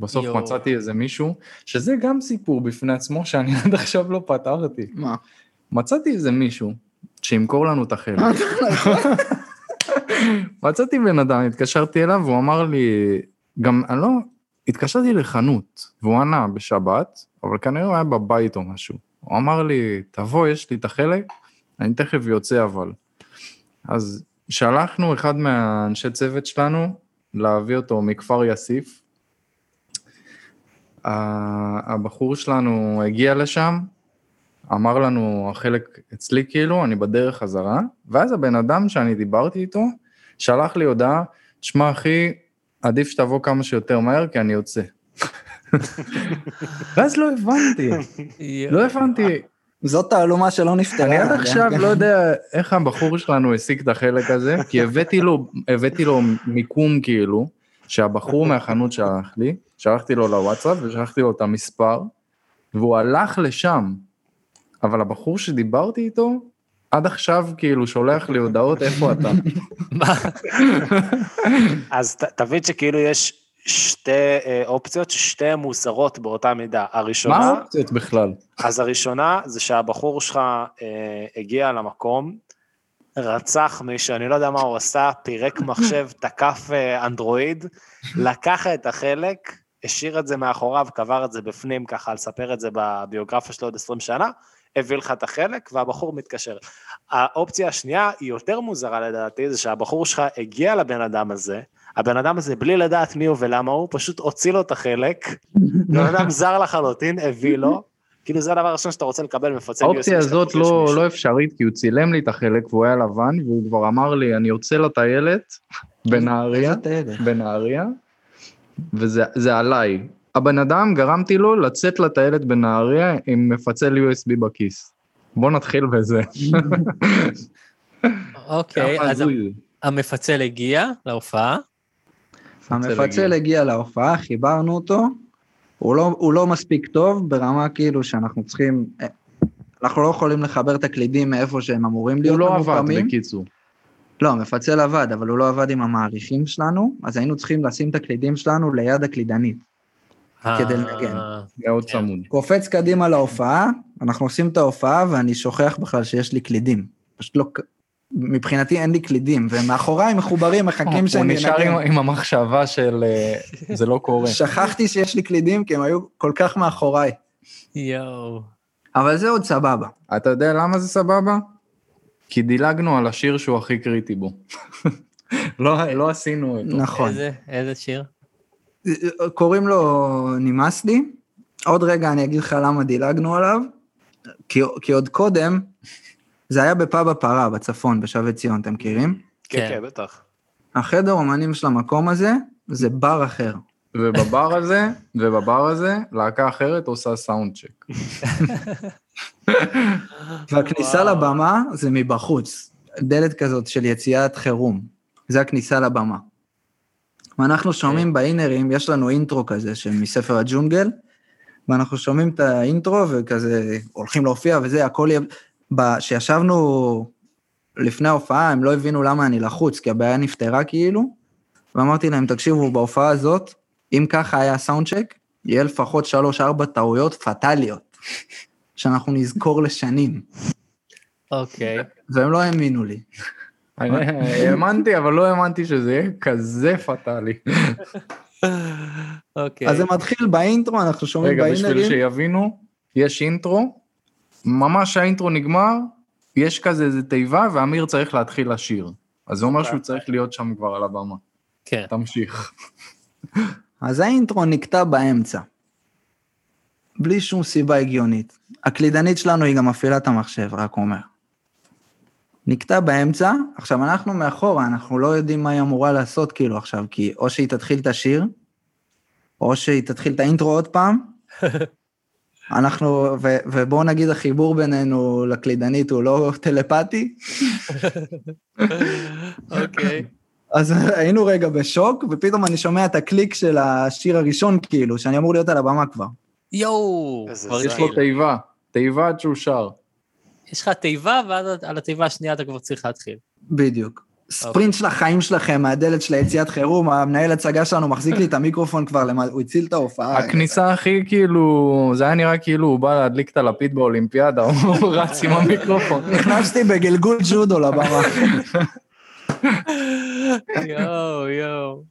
Speaker 4: בסוף
Speaker 2: יואו.
Speaker 4: יו. מצאתי איזה מישהו, שזה גם סיפור בפני עצמו שאני עד עכשיו לא פתרתי.
Speaker 5: מה?
Speaker 4: מצאתי איזה מישהו שימכור לנו את החלק. מצאתי בן אדם, התקשרתי אליו, והוא אמר לי, גם, אני לא, התקשרתי לחנות, והוא ענה בשבת, אבל כנראה הוא היה בבית או משהו. הוא אמר לי, תבוא, יש לי את החלק, אני תכף יוצא אבל. אז שלחנו אחד מהאנשי צוות שלנו להביא אותו מכפר יאסיף. ה- הבחור שלנו הגיע לשם, אמר לנו החלק אצלי כאילו, אני בדרך חזרה, ואז הבן אדם שאני דיברתי איתו, שלח לי הודעה, שמע אחי, עדיף שתבוא כמה שיותר מהר כי אני יוצא. ואז לא הבנתי, לא הבנתי,
Speaker 5: זאת תעלומה שלא נפתרה. כן.
Speaker 4: אני עד עכשיו לא יודע איך הבחור שלנו השיג את החלק הזה, כי הבאתי לו, הבאתי לו מיקום כאילו, שהבחור מהחנות שלח לי, שלחתי לו לוואטסאפ ושלחתי לו את המספר, והוא הלך לשם. אבל הבחור שדיברתי איתו, עד עכשיו כאילו שולח לי הודעות איפה אתה.
Speaker 2: מה?
Speaker 1: אז ת- תבין שכאילו יש שתי אה, אופציות, ששתיהן מוזרות באותה מידה.
Speaker 4: מה
Speaker 1: הראשונה,
Speaker 4: האופציות בכלל?
Speaker 1: אז הראשונה זה שהבחור שלך אה, הגיע למקום, רצח מישהו, אני לא יודע מה הוא עשה, פירק מחשב, תקף אה, אנדרואיד, לקח את החלק, השאיר את זה מאחוריו, קבר את זה בפנים, ככה לספר את זה בביוגרפיה שלו עוד 20 שנה, הביא לך את החלק והבחור מתקשר. האופציה השנייה היא יותר מוזרה לדעתי, זה שהבחור שלך הגיע לבן אדם הזה, הבן אדם הזה בלי לדעת מי הוא ולמה הוא, פשוט הוציא לו את החלק, בן אדם זר לחלוטין, הביא לו, כאילו זה הדבר הראשון שאתה רוצה לקבל מפצל
Speaker 4: האופציה
Speaker 1: USB שאתה
Speaker 4: הזאת
Speaker 1: פוגש
Speaker 4: לא,
Speaker 1: מישהו.
Speaker 4: לא אפשרית, כי הוא צילם לי את החלק והוא היה לבן, והוא כבר אמר לי, אני יוצא לטיילת בנהריה, בנהריה, וזה זה עליי. הבן אדם, גרמתי לו לצאת לטיילת בנהריה עם מפצל USB בכיס. בוא נתחיל בזה.
Speaker 2: אוקיי,
Speaker 4: כמה
Speaker 2: אז
Speaker 4: הזוי זה.
Speaker 2: המפצל הגיע להופעה.
Speaker 5: המפצל הגיע להופעה, חיברנו אותו, הוא לא- הוא לא מספיק טוב ברמה כאילו שאנחנו צריכים, אנחנו לא יכולים לחבר את הקלידים מאיפה שהם אמורים להיות
Speaker 4: הוא לא עבד,
Speaker 5: ממוקמים.
Speaker 4: בקיצור.
Speaker 5: לא, המפצל עבד, אבל הוא לא עבד עם המעריכים שלנו, אז היינו צריכים לשים את הקלידים שלנו ליד הקלידנית. כדי לנגן.
Speaker 2: אה,
Speaker 4: היה עוד צמוד.
Speaker 5: קופץ קדימה להופעה, אנחנו עושים את ההופעה ואני שוכח בכלל שיש לי קלידים. פשוט לא... ק- מבחינתי אין לי קלידים, ומאחוריי מחוברים, מחכים
Speaker 4: הוא
Speaker 5: שאני
Speaker 4: נשאר
Speaker 5: אנגן.
Speaker 4: עם- עם המחשבה של אה, זה לא קורה.
Speaker 5: שכחתי שיש לי קלידים כי הם היו כל כך מאחוריי.
Speaker 2: יואו.
Speaker 5: אבל זה עוד סבבה.
Speaker 4: אתה יודע למה זה סבבה? כי דילגנו על השיר שהוא הכי קריטי בו. לא לא עשינו אותו.
Speaker 5: נכון. אה,
Speaker 2: איזה, איזה שיר?
Speaker 5: קוראים לו נמאס לי. עוד רגע אני אגיד לך למה דילגנו עליו. כי, כי עוד קודם, זה היה בפאב הפרה בצפון, בשבי ציון, אתם מכירים?
Speaker 4: לא-
Speaker 1: כן,
Speaker 2: כן.
Speaker 1: כן, בטח.
Speaker 5: החדר אומנים של המקום הזה, זה בר אחר.
Speaker 4: ובבר הזה, ובבר הזה, להקה אחרת עושה סאונד צ'ק.
Speaker 5: והכניסה
Speaker 2: וואו.
Speaker 5: לבמה זה מבחוץ, דלת כזאת של יציאת חירום, זה הכניסה לבמה. ואנחנו שומעים באינרים, יש לנו אינטרו כזה שמספר הג'ונגל, ואנחנו שומעים את האינטרו וכזה הולכים להופיע וזה, הכל יהיה... ב- כשישבנו לפני ההופעה, הם לא הבינו למה אני לחוץ, כי הבעיה נפתרה כאילו, ואמרתי להם, תקשיבו, בהופעה הזאת, אם ככה היה סאונד צ'ק, יהיה לפחות שלוש-ארבע טעויות פטאליות, שאנחנו נזכור לשנים.
Speaker 2: אוקיי.
Speaker 5: והם לא האמינו לי.
Speaker 4: אני האמנתי, אבל לא האמנתי שזה יהיה כזה פטאלי.
Speaker 2: אוקיי.
Speaker 5: אז זה מתחיל באינטרו, אנחנו שומעים
Speaker 4: כן. רגע, בשביל
Speaker 5: באינרים.
Speaker 4: שיבינו, יש אינטרו, ממש האינטרו נגמר, יש כזה איזה תיבה, ואמיר צריך להתחיל לשיר. אז זה אומר שהוא צריך להיות שם כבר על הבמה.
Speaker 2: כן.
Speaker 4: תמשיך.
Speaker 5: אז האינטרו נקטע באמצע. בלי שום סיבה הגיונית. הקלידנית שלנו היא גם מפעילה את המחשב, רק אומר. נקטע באמצע, עכשיו אנחנו מאחורה, אנחנו לא יודעים מה היא אמורה לעשות כאילו עכשיו, כי או שהיא תתחיל את השיר, או שהיא תתחיל את האינטרו עוד פעם. אנחנו, ו, ובואו נגיד החיבור בינינו לקלידנית הוא לא טלפתי,
Speaker 2: אוקיי.
Speaker 5: אז היינו רגע בשוק, ופתאום אני שומע את הקליק של השיר הראשון, כאילו, שאני אמור להיות על הבמה כבר.
Speaker 2: יואו.
Speaker 1: איזה
Speaker 2: כבר
Speaker 1: זין.
Speaker 4: יש לו תיבה, תיבה עד שהוא שר.
Speaker 2: יש לך תיבה, ואז על התיבה השנייה אתה כבר צריך להתחיל.
Speaker 5: בדיוק. ספרינט של החיים שלכם, מהדלת של היציאת חירום, המנהל הצגה שלנו מחזיק לי את המיקרופון כבר, למעלה, הוא הציל את ההופעה.
Speaker 4: הכניסה הכי כאילו, זה היה נראה כאילו הוא בא להדליק את הלפיד באולימפיאדה, הוא רץ עם המיקרופון.
Speaker 5: נכנסתי בגלגול ג'ודו לבמה,
Speaker 2: יואו, יואו.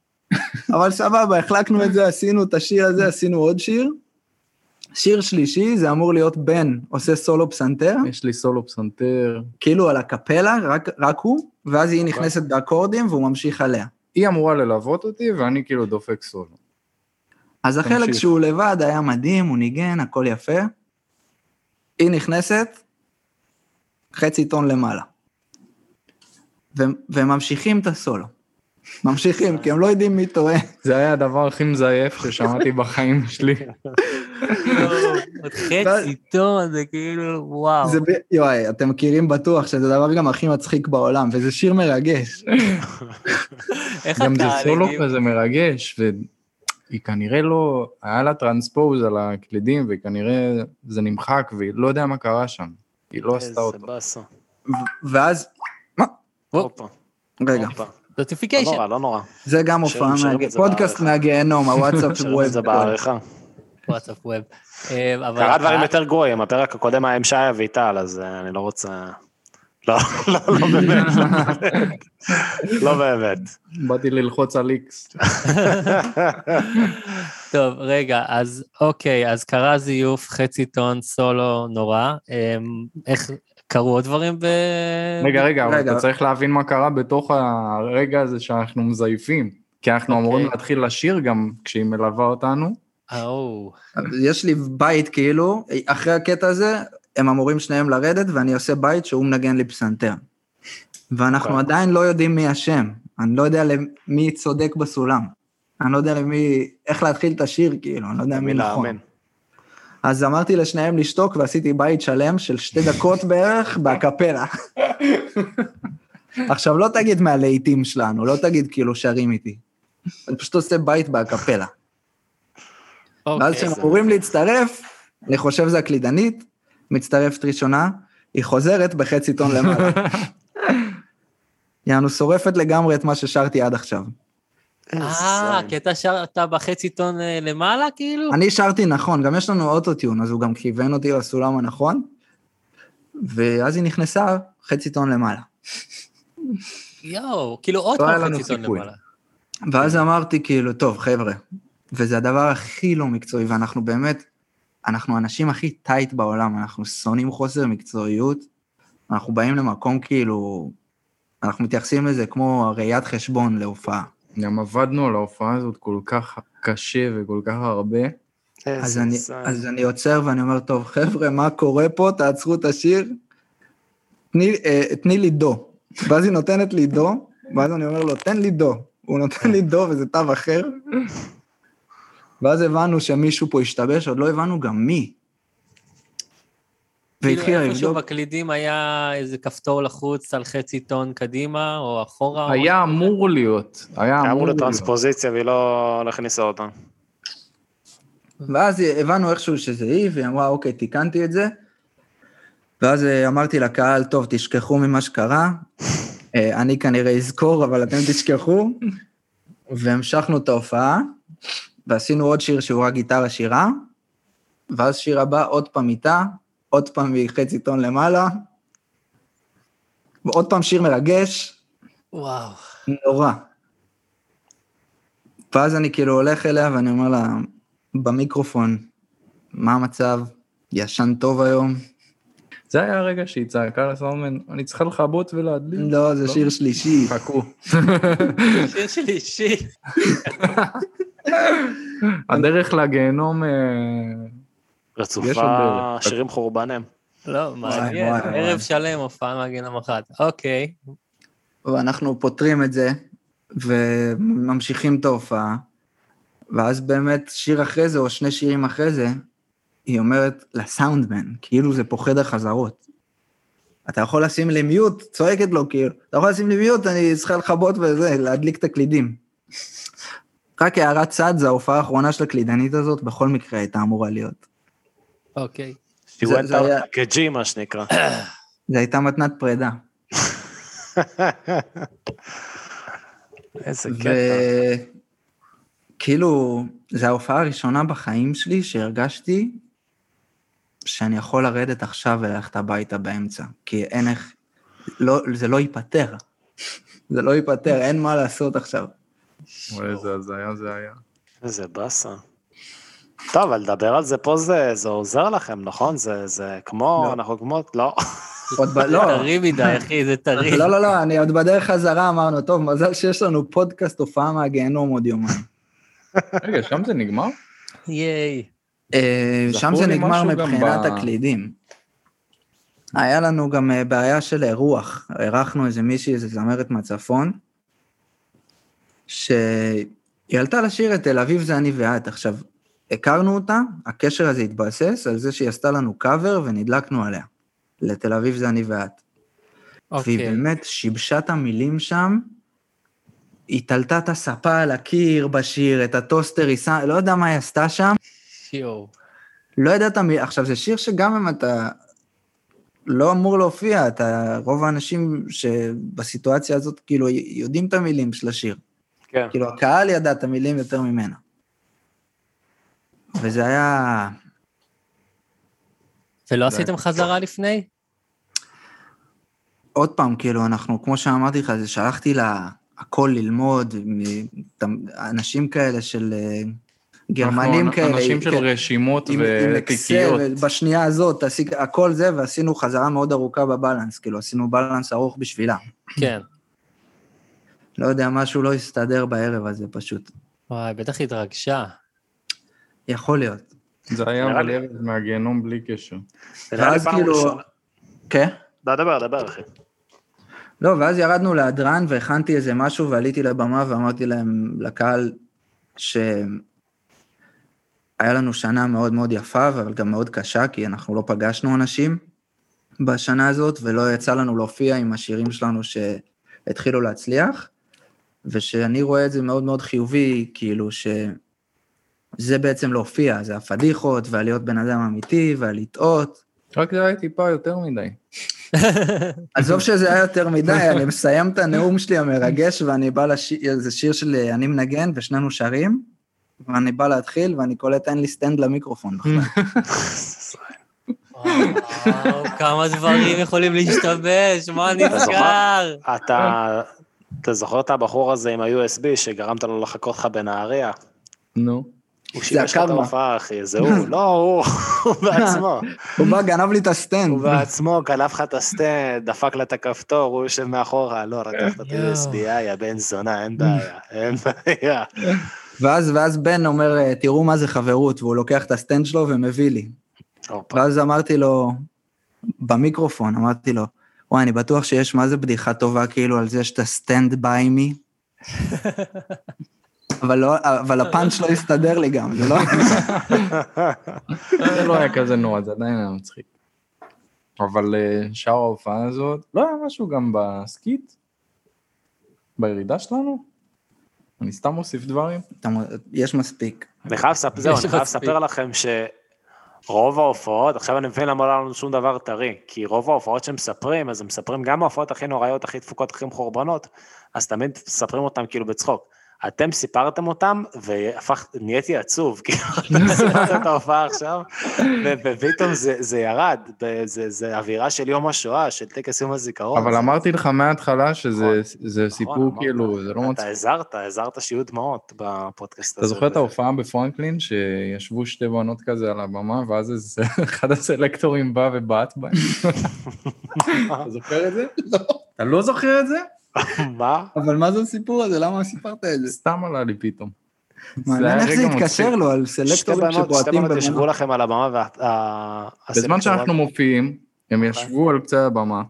Speaker 5: אבל סבבה, החלקנו את זה, עשינו את השיר הזה, עשינו עוד שיר. שיר שלישי, זה אמור להיות בן עושה סולו פסנתר,
Speaker 4: יש לי סולו פסנתר.
Speaker 5: כאילו על הקפלה, רק, רק הוא, ואז היא נכנסת באקורדים והוא ממשיך עליה.
Speaker 4: היא אמורה ללוות אותי, ואני כאילו דופק סולו.
Speaker 5: אז החלק
Speaker 4: תמשיך.
Speaker 5: שהוא לבד היה מדהים, הוא ניגן, הכל יפה. היא נכנסת, חצי טון למעלה. ו- וממשיכים את הסולו. ממשיכים, כי הם לא יודעים מי טועה.
Speaker 4: זה היה הדבר הכי מזייף ששמעתי בחיים שלי.
Speaker 2: יואו, עוד חצי טון, זה כאילו, וואו.
Speaker 5: זה ב... יואי, אתם מכירים בטוח שזה הדבר גם הכי מצחיק בעולם, וזה שיר מרגש.
Speaker 2: איך
Speaker 4: גם זה
Speaker 2: אתה... כאילו-
Speaker 4: סולו
Speaker 2: נגיד,
Speaker 4: כזה מרגש, והיא כנראה לא, היה לה טרנספוז על הקלידים, וכנראה זה נמחק, והיא לא יודע מה קרה שם. היא לא עשתה
Speaker 1: איזה
Speaker 4: אותו.
Speaker 1: באסה.
Speaker 5: ו- ואז,
Speaker 1: הופה,
Speaker 5: רגע,
Speaker 1: הופה.
Speaker 5: כן,
Speaker 1: לא
Speaker 2: נוטיפיקיישן.
Speaker 1: נורא, לא נורא.
Speaker 5: זה גם הופעה,
Speaker 1: שרים
Speaker 5: מהג-
Speaker 1: את זה
Speaker 5: פודקאסט
Speaker 1: בעריכה.
Speaker 5: מהגיהנום, הוואטסאפ של
Speaker 1: נשאיר את
Speaker 5: ווב.
Speaker 1: זה בעריכה.
Speaker 2: וואטסאפ ווב. אה, אבל
Speaker 1: קרה דברים
Speaker 2: הקהל-
Speaker 1: יותר גרועים, הפרק הקודם היה עם שי אביטל, אז אה, אני לא רוצה... לא, לא, לא באמת. לא באמת.
Speaker 4: באתי ללחוץ על איקס.
Speaker 2: טוב, רגע, אז אוקיי, אז קרה זיוף, חצי טון, סולו, נורא. אמ, איך קרו עוד דברים ב...
Speaker 4: רגע, רגע, אבל
Speaker 5: רגע.
Speaker 4: אתה צריך להבין מה קרה בתוך הרגע הזה שאנחנו מזייפים. כי אנחנו
Speaker 2: אוקיי.
Speaker 4: אמורים להתחיל לשיר גם כשהיא מלווה אותנו.
Speaker 2: אה, אוו,
Speaker 5: יש לי בית כאילו, אחרי הקטע הזה, הם אמורים שניהם לרדת, ואני עושה בית שהוא מנגן לי פסנתר. ואנחנו
Speaker 1: אוקיי.
Speaker 5: עדיין לא יודעים מי אשם, אני לא יודע למי צודק בסולם. אני לא יודע למי, איך להתחיל את השיר, כאילו, אני לא יודע מי
Speaker 1: למי
Speaker 5: נכון.
Speaker 1: להאמין.
Speaker 5: אז אמרתי לשניהם לשתוק ועשיתי בית שלם של שתי דקות בערך בהקפלה. עכשיו, לא תגיד מהלהיטים שלנו, לא תגיד כאילו שרים איתי. אני פשוט עושה בית בהקפלה. ואז
Speaker 2: אוקיי.
Speaker 5: כשהם אמורים להצטרף, אני חושב זה הקלידנית, מצטרפת ראשונה, היא חוזרת בחצי טון למעלה. יענו, שורפת לגמרי את מה ששרתי עד עכשיו.
Speaker 2: אה, כי אתה שרת בחצי טון אה, למעלה, כאילו?
Speaker 5: אני שרתי נכון, גם יש לנו אוטוטיון, אז הוא גם כיוון אותי לסולם הנכון, ואז היא נכנסה חצי טון למעלה.
Speaker 2: יואו, כאילו עוד
Speaker 4: לא היה
Speaker 2: פעם
Speaker 4: לנו
Speaker 2: חצי טון
Speaker 4: סיכוי.
Speaker 2: למעלה.
Speaker 5: ואז אמרתי כאילו, טוב, חבר'ה, וזה הדבר הכי לא מקצועי, ואנחנו באמת, אנחנו האנשים הכי טייט בעולם, אנחנו שונאים חוסר מקצועיות, אנחנו באים למקום כאילו, אנחנו מתייחסים לזה כמו ראיית חשבון להופעה.
Speaker 4: גם עבדנו על ההופעה הזאת כל כך קשה וכל כך הרבה.
Speaker 5: אז
Speaker 1: איזה
Speaker 5: אני,
Speaker 1: זין.
Speaker 5: אז אני עוצר ואני אומר, טוב, חבר'ה, מה קורה פה? תעצרו את השיר, תני, אה, תני לי דו. ואז היא נותנת לי דו, ואז אני אומר לו, תן לי דו. הוא נותן לי דו וזה תו אחר. ואז הבנו שמישהו פה השתבש, עוד לא הבנו גם מי. והתחילה
Speaker 2: כאילו איפשהו
Speaker 5: לבדוק,
Speaker 2: בקלידים היה איזה כפתור לחוץ על חצי טון קדימה או אחורה. או-
Speaker 4: היה אמור להיות, היה
Speaker 1: היה
Speaker 4: אמור
Speaker 1: אמור
Speaker 4: להיות.
Speaker 1: לטרנספוזיציה והיא לא לא הכניסה אותה.
Speaker 5: ואז הבנו איכשהו שזה היא, והיא אמרה, אוקיי, תיקנתי את זה. ואז אה, אמרתי לקהל, טוב, תשכחו ממה שקרה, אה, אני כנראה אזכור, אבל אתם תשכחו. והמשכנו את ההופעה, ועשינו עוד שיר שהוא רק גיטרה שירה, ואז שיר הבא, עוד פעם איתה, עוד פעם מחצי טון למעלה, ועוד פעם שיר מרגש,
Speaker 2: וואו.
Speaker 5: נורא. ואז אני כאילו הולך אליה ואני אומר לה, במיקרופון, מה המצב? ישן טוב היום?
Speaker 4: זה היה הרגע שהיא צעקה לסאונדמן, אני צריכה לכבות ולהדליק.
Speaker 5: לא, זה שיר שלישי.
Speaker 4: חכו.
Speaker 2: שיר שלי אישי.
Speaker 4: הדרך לגיהנום, אה, יש עוד
Speaker 1: רצופה
Speaker 4: דרך.
Speaker 1: שירים חורבנים.
Speaker 2: לא, מעניין.
Speaker 5: וואי, וואי.
Speaker 2: ערב שלם הופעה מעגן המחרת. אוקיי.
Speaker 5: ואנחנו פותרים את זה, וממשיכים את ההופעה, ואז באמת שיר אחרי זה, או שני שירים אחרי זה, היא אומרת לסאונדמן, כאילו זה פוחד החזרות. אתה יכול לשים לי מיוט, צועקת לו כאילו, אתה יכול לשים לי מיוט, אני צריכה לכבות וזה, להדליק את הקלידים. רק הערת צד, זו ההופעה האחרונה של הקלידנית הזאת, בכל מקרה הייתה אמורה להיות.
Speaker 2: אוקיי.
Speaker 1: She
Speaker 5: זה-
Speaker 1: went
Speaker 5: זה היה-
Speaker 1: out כג'י מה שנקרא.
Speaker 5: זו הייתה מתנת פרידה.
Speaker 1: איזה קטע.
Speaker 5: וכאילו, זו כאילו, ההופעה הראשונה בחיים שלי שהרגשתי שאני יכול לרדת עכשיו וללכת הביתה באמצע, כי אין איך, לא, זה לא ייפתר. זה לא ייפתר, אין מה לעשות עכשיו.
Speaker 4: וואי, איזה הזיה זה היה.
Speaker 1: איזה באסה. טוב, אבל לדבר על זה פה זה, זה עוזר לכם, נכון? זה, זה כמו,
Speaker 5: לא.
Speaker 1: אנחנו כמו, לא.
Speaker 5: עוד ב...
Speaker 2: זה
Speaker 5: לא,
Speaker 2: טרי מדי, אחי, זה טרי.
Speaker 5: לא, לא, לא, אני עוד בדרך חזרה אמרנו, טוב, מזל שיש לנו פודקאסט הופעה מהגיהנום עוד יומיים.
Speaker 4: רגע, שם זה נגמר?
Speaker 2: ייי.
Speaker 5: אה,
Speaker 4: זכור
Speaker 5: שם זה
Speaker 4: לי
Speaker 5: נגמר
Speaker 4: משהו גם
Speaker 5: מבחינת
Speaker 4: ב-
Speaker 5: הקלידים. היה לנו גם אה, בעיה של אירוח. אירחנו איזה מישהי, איזה זמרת מהצפון, שהיא עלתה לשיר את תל אביב זה אני ואת. עכשיו, הכרנו אותה, הקשר הזה התבסס על זה שהיא עשתה לנו קאבר ונדלקנו עליה. לתל אביב זה אני ואת. והיא
Speaker 2: אוקיי.
Speaker 5: באמת שיבשה את המילים שם, היא תלתה את הספה על הקיר בשיר, את הטוסטר היא שמה, לא יודע מה היא עשתה שם.
Speaker 2: יואו.
Speaker 5: לא ידעת מי... עכשיו, זה שיר שגם אם אתה לא אמור להופיע, אתה... רוב האנשים שבסיטואציה הזאת, כאילו, י- יודעים את המילים של השיר.
Speaker 1: כן.
Speaker 5: כאילו, הקהל ידע את המילים יותר ממנה. וזה היה...
Speaker 2: ולא עשיתם חזרה לפני?
Speaker 5: עוד פעם, כאילו, אנחנו, כמו שאמרתי לך, זה שלחתי לה הכל ללמוד, מ- ת- אנשים כאלה של אה, גרמנים
Speaker 4: אנחנו
Speaker 5: כאלה.
Speaker 4: אנשים של
Speaker 5: כן.
Speaker 4: רשימות
Speaker 5: עם, עם אקסל,
Speaker 4: ותיקיות.
Speaker 5: בשנייה הזאת, תעשי הכל זה, ועשינו חזרה מאוד ארוכה בבלנס, כאילו, עשינו בלנס ארוך בשבילה.
Speaker 2: כן.
Speaker 5: לא יודע, משהו לא הסתדר בערב הזה פשוט.
Speaker 2: וואי, בטח התרגשה.
Speaker 5: יכול להיות.
Speaker 4: זה היה
Speaker 1: נראה
Speaker 4: אבל
Speaker 1: לי-
Speaker 4: ארז מהגיהנום בלי קשר.
Speaker 1: זה נראה לי
Speaker 5: ואז
Speaker 1: פעם
Speaker 5: כאילו-
Speaker 1: ראשונה.
Speaker 5: כן?
Speaker 1: לא, דבר, דבר, אחי.
Speaker 5: לא, ואז ירדנו להדרן והכנתי איזה משהו ועליתי לבמה ואמרתי להם, לקהל, שהיה לנו שנה מאוד מאוד יפה, אבל גם מאוד קשה, כי אנחנו לא פגשנו אנשים בשנה הזאת, ולא יצא לנו להופיע עם השירים שלנו שהתחילו להצליח, ושאני רואה את זה מאוד מאוד חיובי, כאילו ש... זה בעצם להופיע, זה הפדיחות, ועל להיות בן אדם אמיתי, ועל לטעות.
Speaker 4: רק זה היה טיפה יותר מדי.
Speaker 5: עזוב שזה היה יותר מדי, אני מסיים את הנאום שלי המרגש, ואני בא לשיר, זה שיר של אה, אני מנגן, ושנינו שרים, ואני בא להתחיל, ואני קולט אין לי סטנד למיקרופון בכלל.
Speaker 2: וואו, כמה דברים יכולים להשתבש, מה נזכר?
Speaker 1: אתה, אתה זוכר את הבחור הזה עם ה-USB שגרמת לו לחכות לך בנהריה?
Speaker 4: נו.
Speaker 1: הוא שיבש לך את
Speaker 5: הקרמה.
Speaker 1: ההופעה, אחי, זה הוא. לא, הוא, הוא בעצמו.
Speaker 5: הוא בא, גנב לי את הסטנד.
Speaker 1: הוא בעצמו גנב לך את הסטנד, דפק לה את הכפתור, הוא יושב מאחורה, לא, רקחת את
Speaker 2: יואו.
Speaker 1: ה-USBI, יא בן זונה, אין בעיה, אין בעיה.
Speaker 5: ואז, ואז בן אומר, אה, תראו מה זה חברות, והוא לוקח את הסטנד שלו ומביא לי.
Speaker 1: הופה.
Speaker 5: ואז אמרתי לו, במיקרופון, אמרתי לו, וואי, אני בטוח שיש מה זה בדיחה טובה כאילו על זה שאתה סטנד ביי מי. אבל, לא, אבל הפאנץ' לא הסתדר לי גם, זה לא...
Speaker 4: זה לא היה כזה נורא, זה עדיין היה מצחיק. אבל אה, שאר ההופעה הזאת, לא היה משהו גם בסקית? בירידה שלנו? אני סתם מוסיף דברים.
Speaker 5: אתה מ- יש מספיק.
Speaker 1: אני חייב לספר, זהו,
Speaker 2: יש
Speaker 1: אני חייב
Speaker 2: מספיק.
Speaker 1: לספר לכם שרוב ההופעות, עכשיו אני מבין למה לא היה לנו שום דבר טרי, כי רוב ההופעות שמספרים, אז הם מספרים גם ההופעות הכי נוראיות, הכי דפוקות, הכי מחורבנות, אז תמיד מספרים אותם כאילו בצחוק. אתם סיפרתם אותם, והפך, נהייתי עצוב, כאילו, אתם סיפרתם את ההופעה עכשיו, ו- ופתאום זה, זה ירד, ב- זה, זה אווירה של יום השואה, של טקס יום הזיכרון.
Speaker 4: אבל
Speaker 1: זה-
Speaker 4: אמרתי לך מההתחלה שזה
Speaker 1: נכון,
Speaker 4: זה סיפור
Speaker 1: אמרת.
Speaker 4: כאילו, זה לא
Speaker 1: אתה
Speaker 4: מצחיק.
Speaker 1: עזרת, עזרת שיהיו דמעות בפודקאסט הזה.
Speaker 4: אתה זוכר את ההופעה בפרנקלין, שישבו שתי בנות כזה על הבמה, ואז איזה- אחד הסלקטורים בא ובעט בהם? אתה זוכר את זה? לא. אתה לא זוכר את זה?
Speaker 1: מה?
Speaker 5: אבל מה זה הסיפור הזה? למה סיפרת את זה?
Speaker 4: סתם עלה לי פתאום.
Speaker 5: מעניין
Speaker 4: היה
Speaker 5: איך זה
Speaker 4: רגע
Speaker 5: התקשר
Speaker 4: מצחיק.
Speaker 5: לו על
Speaker 1: שתי
Speaker 5: סלקטורים
Speaker 1: בנות, שתי
Speaker 5: שבועטים
Speaker 1: בנות ישבו
Speaker 5: בבמה.
Speaker 1: לכם על הבמה וה...
Speaker 4: בזמן
Speaker 1: הסלקטור-
Speaker 4: שאנחנו מופיעים, הם ישבו על קצה הבמה,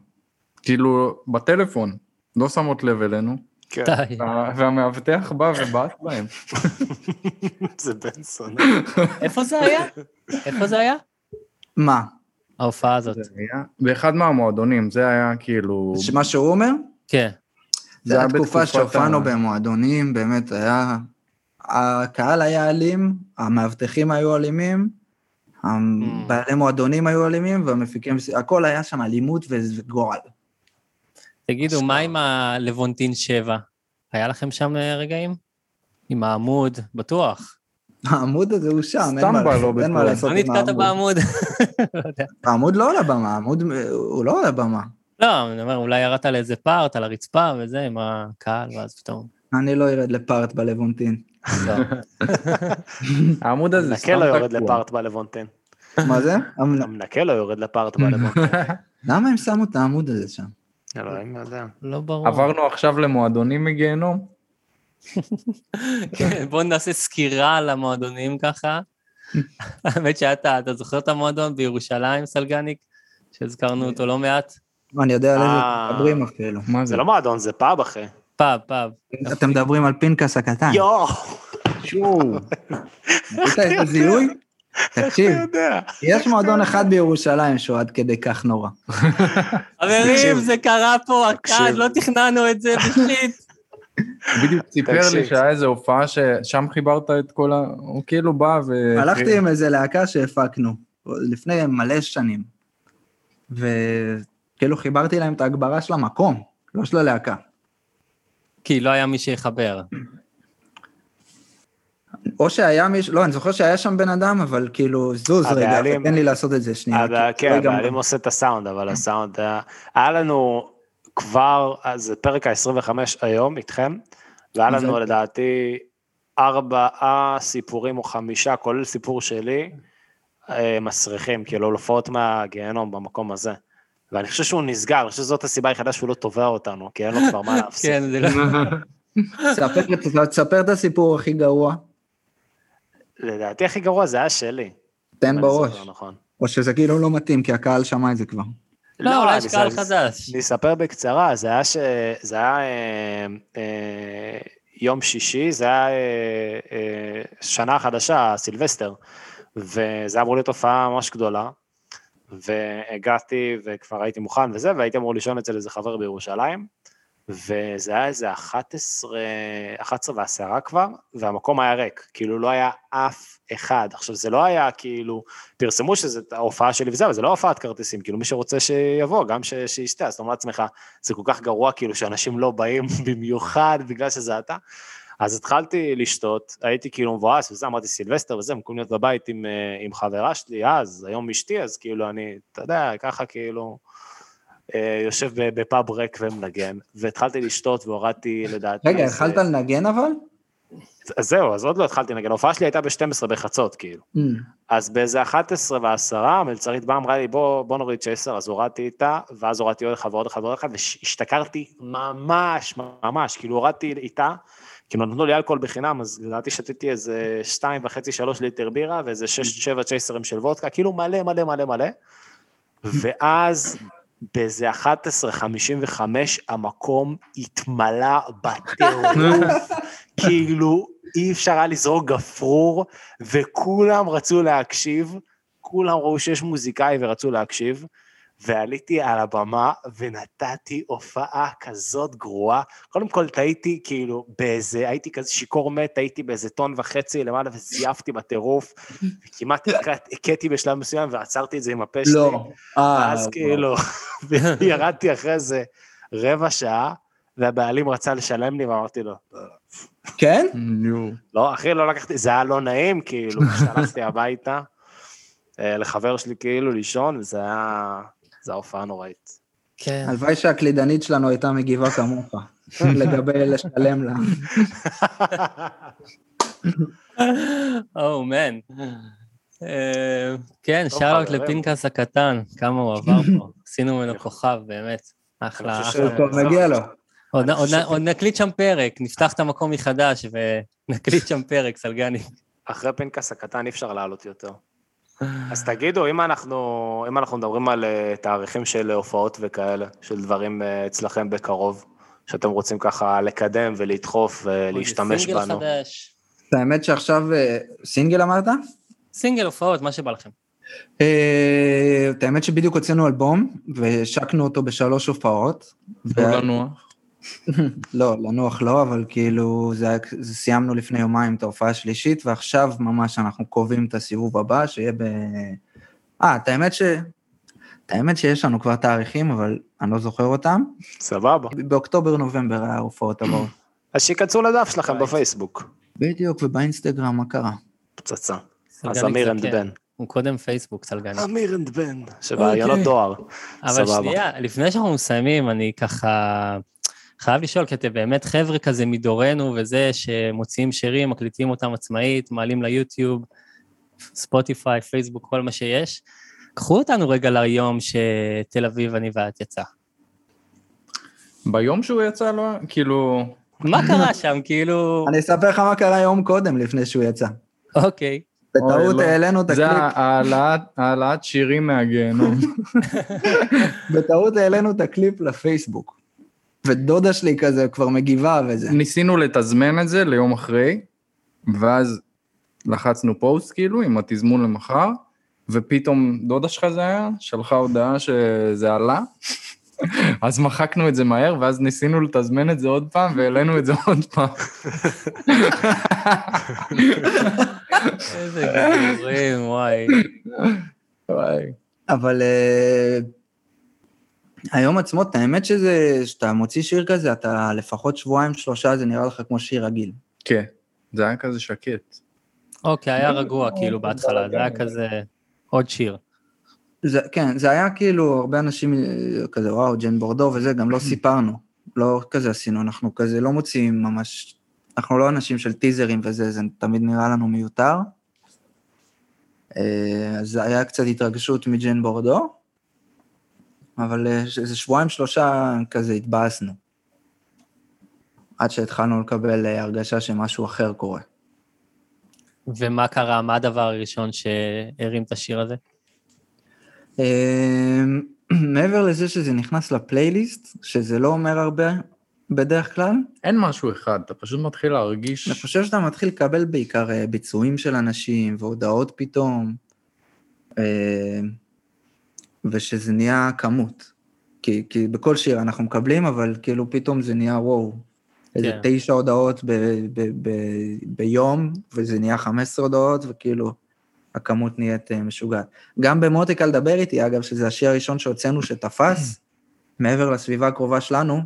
Speaker 4: כאילו, בטלפון, לא שמות לב אלינו,
Speaker 1: כן,
Speaker 2: די.
Speaker 4: וה- והמאבטח בא ובעט בהם.
Speaker 1: זה בן סון.
Speaker 2: איפה זה היה? איפה זה היה?
Speaker 5: מה?
Speaker 2: ההופעה הזאת.
Speaker 4: זה היה באחד מהמועדונים, זה היה כאילו...
Speaker 5: מה שהוא אומר?
Speaker 2: כן.
Speaker 5: זה היה בתקופה
Speaker 4: בתקופת ה-
Speaker 5: שהופענו במועדונים, באמת היה... הקהל היה אלים, המאבטחים היו אלימים, בעלי מועדונים היו אלימים, והמפיקים, הכל היה שם אלימות ו- וגועל.
Speaker 2: תגידו, מה עם הלוונטין 7? היה לכם שם אה, רגעים? עם העמוד, בטוח.
Speaker 5: העמוד הזה הוא שם, אין
Speaker 4: סתם
Speaker 5: מה
Speaker 4: בא לו
Speaker 5: לעשות, אין מה
Speaker 4: בטוח.
Speaker 5: לעשות
Speaker 2: לא
Speaker 5: עם
Speaker 2: נתקעת בעמוד?
Speaker 5: העמוד.
Speaker 2: לא יודע.
Speaker 5: העמוד לא על הבמה, העמוד הוא לא על הבמה.
Speaker 2: לא, אני אומר, אולי ירדת על איזה פארט, על הרצפה וזה, עם הקהל, ואז פתאום...
Speaker 5: אני לא ארד לפארט בלוונטין.
Speaker 2: לא.
Speaker 4: העמוד הזה סתם
Speaker 1: המנקה לא יורד
Speaker 4: תקוע.
Speaker 1: לפארט בלוונטין.
Speaker 5: מה זה?
Speaker 1: המנקה לא יורד לפארט בלוונטין.
Speaker 5: למה הם שמו את העמוד הזה שם?
Speaker 1: אלוהים יודע.
Speaker 2: לא ברור.
Speaker 4: עברנו עכשיו למועדונים מגיהנום.
Speaker 2: כן, בואו נעשה סקירה על המועדונים ככה. האמת שאתה, אתה זוכר את המועדון בירושלים, סלגניק? שהזכרנו אותו לא מעט?
Speaker 5: אני יודע על איזה
Speaker 1: אה.
Speaker 5: מדברים אפילו.
Speaker 4: מה
Speaker 1: זה לא מועדון, זה פאב אחי.
Speaker 2: פאב, פאב.
Speaker 5: אתם מדברים על פנקס הקטן.
Speaker 1: יואו,
Speaker 5: שואו. ראית איזה זיהוי? תקשיב,
Speaker 1: אתה יודע.
Speaker 5: יש מועדון אחד בירושלים שהוא עד כדי כך נורא.
Speaker 2: חברים, זה קרה פה, הקהל,
Speaker 1: תקשיב.
Speaker 2: לא תכננו את זה, בשיט.
Speaker 4: בדיוק סיפר לי
Speaker 1: תקשיב.
Speaker 4: שהיה איזו הופעה ששם חיברת את כל ה... הוא כאילו בא ו...
Speaker 5: הלכתי עם איזה להקה שהפקנו, לפני מלא שנים, וכאילו חיברתי להם את ההגברה של המקום, לא של הלהקה.
Speaker 2: כי לא היה מי שיחבר.
Speaker 5: או שהיה מישהו, לא, אני זוכר שהיה שם בן אדם, אבל כאילו, זוז רגע,
Speaker 1: הבעלים-
Speaker 5: תן לי לעשות את זה שנייה.
Speaker 1: הבע-
Speaker 5: כי
Speaker 1: כן,
Speaker 5: זה לא
Speaker 1: הבעלים
Speaker 5: ייגמר.
Speaker 1: עושה את הסאונד, אבל הסאונד היה... היה לנו כבר, אז זה פרק ה-25 היום איתכם, והיה לנו
Speaker 5: מזל.
Speaker 1: לדעתי ארבעה סיפורים או חמישה, כולל סיפור שלי, אה, מסריחים, כאילו הופעות מהגיהנום במקום הזה. ואני חושב שהוא נסגר, אני חושב שזאת הסיבה היחידה שהוא לא תובע אותנו, כי אין לו כבר מה להפסיד.
Speaker 2: כן, זה לא...
Speaker 5: ספר את- תספר את הסיפור הכי גרוע,
Speaker 1: לדעתי הכי גרוע זה היה שלי.
Speaker 5: תן
Speaker 1: אם אני
Speaker 5: בראש.
Speaker 1: זוכר נכון.
Speaker 5: או שזה כאילו לא מתאים, כי הקהל שמע את זה כבר.
Speaker 2: לא, אולי יש
Speaker 1: אני-
Speaker 2: קהל
Speaker 1: זה-
Speaker 2: חדש.
Speaker 1: אני אספר בקצרה, זה היה, ש... זה היה אה, אה, יום שישי, זה היה אה, אה, שנה חדשה, סילבסטר, וזה אמור להיות הופעה ממש גדולה, והגעתי וכבר הייתי מוכן וזה, והייתי אמור לישון אצל איזה חבר בירושלים, וזה היה איזה 11, 11 ועשרה כבר, והמקום היה ריק, כאילו לא היה אף אחד. עכשיו זה לא היה כאילו, פרסמו שזו ההופעה שלי וזה, אבל זה לא הופעת כרטיסים, כאילו מי שרוצה שיבוא, גם ש- שישתה, אז אתה אומר לעצמך, זה כל כך גרוע כאילו שאנשים לא באים במיוחד בגלל שזה אתה. אז התחלתי לשתות, הייתי כאילו מבואס וזה, אמרתי סילבסטר וזה, במקום להיות בבית עם, אה, עם חברה שלי אז, היום אשתי, אז כאילו אני, אתה יודע, ככה כאילו, אה, יושב ב- בפאב ריק ומנגן, והתחלתי לשתות והורדתי לדעתי...
Speaker 5: רגע,
Speaker 1: איזה-
Speaker 5: התחלת לנגן אבל?
Speaker 1: אז זהו, אז עוד לא התחלתי לנגן, ההופעה שלי הייתה ב-12 בחצות, כאילו. אז באיזה 11 ו-10, המלצרית באה, אמרה לי, בוא, בוא נוריד צ'ייסר, אז הורדתי איתה, ואז הורדתי עוד אחד ועוד אחד ועוד אחד, והשתכרתי ממש, ממש, כאילו הורדתי איתה, כאילו נתנו לי אלכוהול בחינם, אז לדעתי שתיתי איזה 2.5-3 ליטר בירה, ואיזה 6-7 צ'ייסרים של וודקה, כאילו מלא מלא מלא מלא, ואז... באיזה 11.55 המקום התמלא בטירוף, כאילו אי אפשר היה לזרוק גפרור, וכולם רצו להקשיב, כולם ראו שיש מוזיקאי ורצו להקשיב, ועליתי על הבמה ונתתי הופעה כזאת גרועה. קודם כל טעיתי כאילו באיזה, הייתי כזה שיכור מת, הייתי באיזה טון וחצי למעלה וזייפתי בטירוף, וכמעט הכת- הכיתי בשלב מסוים ועצרתי את זה עם
Speaker 5: לא.
Speaker 1: הפה שלי.
Speaker 5: אה,
Speaker 1: אז כאילו, ירדתי אחרי איזה רבע שעה, והבעלים רצה לשלם לי ואמרתי לו,
Speaker 5: כן?
Speaker 4: נו.
Speaker 1: לא, אחי, לא לקחתי, זה היה לא נעים, כאילו, כשהלכתי הביתה אה, לחבר שלי כאילו לישון, וזה היה, זו הופעה נוראית.
Speaker 2: כן.
Speaker 5: הלוואי שהקלידנית שלנו הייתה מגיבה כמוך, לגבי לשלם לה.
Speaker 1: כן,
Speaker 2: או, מן. Oh, אה, כן, שאלות
Speaker 1: חברים.
Speaker 2: לפנקס הקטן, כמה הוא עבר פה. עשינו ממנו כוכב, באמת. אחלה,
Speaker 1: אני חושב
Speaker 2: אחלה.
Speaker 1: ש-
Speaker 5: טוב, מגיע לו.
Speaker 2: עוד-
Speaker 1: אני
Speaker 2: עוד
Speaker 1: חושב-
Speaker 2: עוד נקליט שם פרק, נפתח את המקום מחדש ונקליט שם פרק, סלגני.
Speaker 1: אחרי פנקס הקטן אי אפשר לעלות יותר. אז תגידו, אם אנחנו, אם אנחנו מדברים על אה, תאריכים של הופעות וכאלה, של דברים אה, אצלכם בקרוב, שאתם רוצים ככה לקדם ולדחוף ולהשתמש
Speaker 2: סינגל
Speaker 1: בנו.
Speaker 2: חדש.
Speaker 5: האמת שעכשיו, אה, סינגל אמרת?
Speaker 2: סינגל הופעות, מה שבא לכם.
Speaker 5: אה, את האמת שבדיוק הוצאנו אלבום, והשקנו אותו בשלוש הופעות.
Speaker 4: לא
Speaker 5: וה-
Speaker 4: לנוח.
Speaker 5: לא, לנוח לא, אבל כאילו, זה, היה- זה סיימנו לפני יומיים את ההופעה השלישית, ועכשיו ממש אנחנו קובעים את הסיבוב הבא, שיהיה ב... אה, את האמת ש... את האמת שיש לנו כבר תאריכים, אבל אני לא זוכר אותם.
Speaker 1: סבבה.
Speaker 5: באוקטובר-נובמבר היה ההופעות הבאות.
Speaker 1: אז שיכנסו לדף שלכם בפייסבוק.
Speaker 5: בדיוק, ובאינסטגרם, מה קרה?
Speaker 1: פצצה. אז
Speaker 2: סלגני
Speaker 1: אמיר אנד
Speaker 2: קצת, כן.
Speaker 1: בן.
Speaker 2: הוא קודם פייסבוק, סלגני.
Speaker 1: אמיר אנד בן. שבעיונות
Speaker 2: אוקיי.
Speaker 1: דואר.
Speaker 2: אבל
Speaker 1: סבבה.
Speaker 2: שנייה, לפני שאנחנו מסיימים, אני ככה חייב לשאול, כי אתם באמת חבר'ה כזה מדורנו וזה, שמוציאים שירים, מקליטים אותם עצמאית, מעלים ליוטיוב, ספוטיפיי, פייסבוק, כל מה שיש. קחו אותנו רגע ליום שתל אביב, אני ואת יצא.
Speaker 4: ביום שהוא יצא לא... כאילו...
Speaker 2: מה קרה שם, כאילו...
Speaker 5: אני אספר לך מה קרה יום קודם, לפני שהוא יצא.
Speaker 2: אוקיי.
Speaker 5: בטעות
Speaker 4: לא.
Speaker 5: העלינו את
Speaker 4: זה
Speaker 5: הקליפ,
Speaker 4: העלאת- העלאת שירים מהגיהנום.
Speaker 5: בטעות העלינו את הקליפ לפייסבוק. ודודה שלי כזה כבר מגיבה וזה.
Speaker 4: ניסינו לתזמן את זה ליום אחרי, ואז לחצנו פוסט כאילו עם התזמון למחר, ופתאום דודה שלך זה היה, שלחה הודעה שזה עלה, אז מחקנו את זה מהר, ואז ניסינו לתזמן את זה עוד פעם, והעלינו את זה עוד פעם.
Speaker 2: איזה גיבורים, וואי.
Speaker 4: וואי.
Speaker 5: אבל אה, היום עצמו, את האמת שזה, שאתה מוציא שיר כזה, אתה לפחות שבועיים, שלושה, זה נראה לך כמו שיר רגיל.
Speaker 4: כן, זה היה כזה שקט.
Speaker 2: אוקיי, היה רגוע כאילו בהתחלה, זה היה כזה עוד שיר.
Speaker 5: זה, כן, זה היה כאילו, הרבה אנשים אה, כזה, וואו, ג'ן בורדו וזה, גם לא סיפרנו. לא כזה עשינו, אנחנו כזה לא מוציאים ממש, אנחנו לא אנשים של טיזרים וזה, זה תמיד נראה לנו מיותר. אה, אז היה קצת התרגשות מג'ן בורדו, אבל אה, ש- איזה שבועיים, שלושה כזה התבאסנו. עד שהתחלנו לקבל אה, הרגשה שמשהו אחר קורה.
Speaker 2: ומה קרה, מה הדבר הראשון שהרים את השיר הזה?
Speaker 5: אמ, מעבר לזה שזה נכנס לפלייליסט, שזה לא אומר הרבה בדרך כלל,
Speaker 4: אין משהו אחד, אתה פשוט מתחיל להרגיש...
Speaker 5: אני חושב שאתה מתחיל לקבל בעיקר אה, ביצועים של אנשים והודעות פתאום, אמ, ושזה נהיה כמות. כי, כי בכל שיר אנחנו מקבלים, אבל כאילו פתאום זה נהיה וואו. איזה
Speaker 2: כן.
Speaker 5: תשע הודעות ב, ב, ב, ביום, וזה נהיה חמש עשרה הודעות, וכאילו הכמות נהיית אה, משוגעת. גם במותק אל דבר איתי, אגב, שזה השיר הראשון שהוצאנו שתפס, מעבר לסביבה הקרובה שלנו,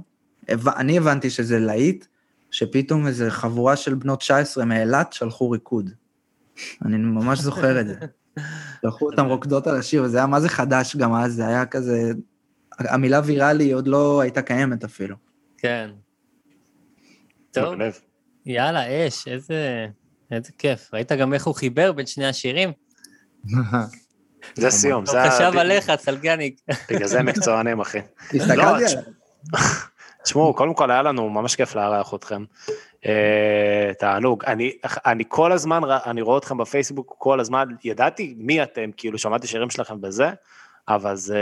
Speaker 5: הבנ- אני הבנתי שזה להיט, שפתאום איזו חבורה של בנות 19 מאילת שלחו ריקוד. אני ממש זוכר את זה. שלחו אותן רוקדות על השיר, וזה היה מה זה חדש גם אז, זה היה כזה... המילה ויראלי עוד לא הייתה קיימת אפילו.
Speaker 2: כן. טוב,
Speaker 1: מגניב.
Speaker 2: יאללה, אש, איזה... איזה כיף. ראית גם איך הוא חיבר בין שני השירים?
Speaker 1: זה סיום,
Speaker 2: הוא
Speaker 1: זה... ה-
Speaker 2: חשב עליך, צלגניק.
Speaker 1: בגלל זה מקצוענים, אחי.
Speaker 5: הסתכלתי עליו.
Speaker 1: תשמעו, קודם כל היה לנו ממש כיף לארח אתכם. אה, תענוג. אני, אני כל הזמן, ר- אני רואה אתכם בפייסבוק כל הזמן, ידעתי מי אתם, כאילו, שמעתי שירים שלכם וזה, אבל זה...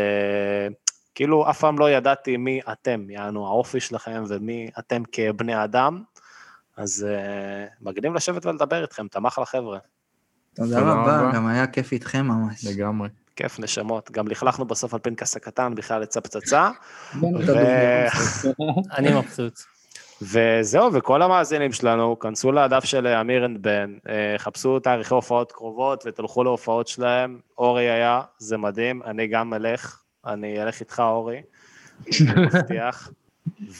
Speaker 1: כאילו, אף פעם לא ידעתי מי אתם, יענו, האופי שלכם ומי אתם כבני אדם. אז אה, מגניב לשבת ולדבר איתכם, תמך לחבר'ה.
Speaker 5: תודה
Speaker 4: תודה
Speaker 5: רבה,
Speaker 4: רבה.
Speaker 5: גם היה כיף איתכם ממש.
Speaker 4: לגמרי.
Speaker 1: כיף, נשמות. גם לכלכנו בסוף על פנקס הקטן, בכלל יצא פצצה. ו-
Speaker 2: אני מבסוט.
Speaker 1: וזהו, וכל המאזינים שלנו, כנסו לדף של אמיר אנד בן, אה, חפשו תאריכי הופעות קרובות ותלכו להופעות שלהם. אורי היה, זה מדהים, אני גם אלך, אני אלך איתך, אורי, אני מבטיח.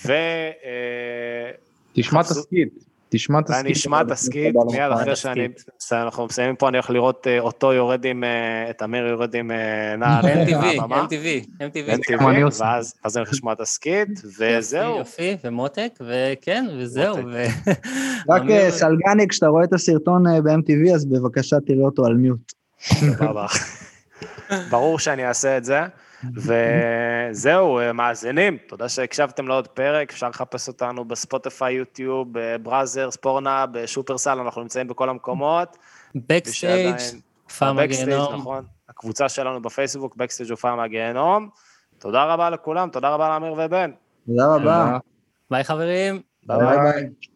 Speaker 1: ו... אה,
Speaker 4: תשמע
Speaker 1: חפשו-
Speaker 4: תסכית, תשמע תסכית.
Speaker 1: ואני אשמע תסכית, מיד אחרי שאני... אנחנו מסיימים פה, אני הולך לראות אה, אותו יורד עם... אה, את אמיר יורד עם אה, נער
Speaker 2: MTV,
Speaker 1: הבמה.
Speaker 2: MTV, MTV.
Speaker 4: גם אני
Speaker 1: NTV,
Speaker 4: עושה.
Speaker 1: ואז אז אני הולך לשמוע תסכית, וזהו.
Speaker 2: יופי, יופי, ומותק, וכן, וזהו.
Speaker 1: מותק.
Speaker 2: ו-
Speaker 5: רק
Speaker 2: אמיר-
Speaker 5: אה, סלגני, כשאתה רואה את הסרטון אה, ב-MTV, אז בבקשה תראה אותו על מיוט.
Speaker 1: סבבה. ברור שאני אעשה את זה. וזהו, אה, מאזינים, תודה שהקשבתם לעוד פרק, אפשר לחפש אותנו בספוטיפיי, יוטיוב, בראזר, ספורנה, בשופרסל, אנחנו נמצאים בכל המקומות. מי שעדיין-
Speaker 2: Backstage, פעם
Speaker 1: בבקסטייג',
Speaker 2: הגיהנום.
Speaker 1: נכון. הקבוצה שלנו בפייסבוק, בקסטייג' ופעם הגיהנום. תודה רבה לכולם, תודה רבה לאמיר ובן.
Speaker 5: תודה רבה.
Speaker 2: ביי חברים.
Speaker 1: ביי ביי.
Speaker 5: ביי.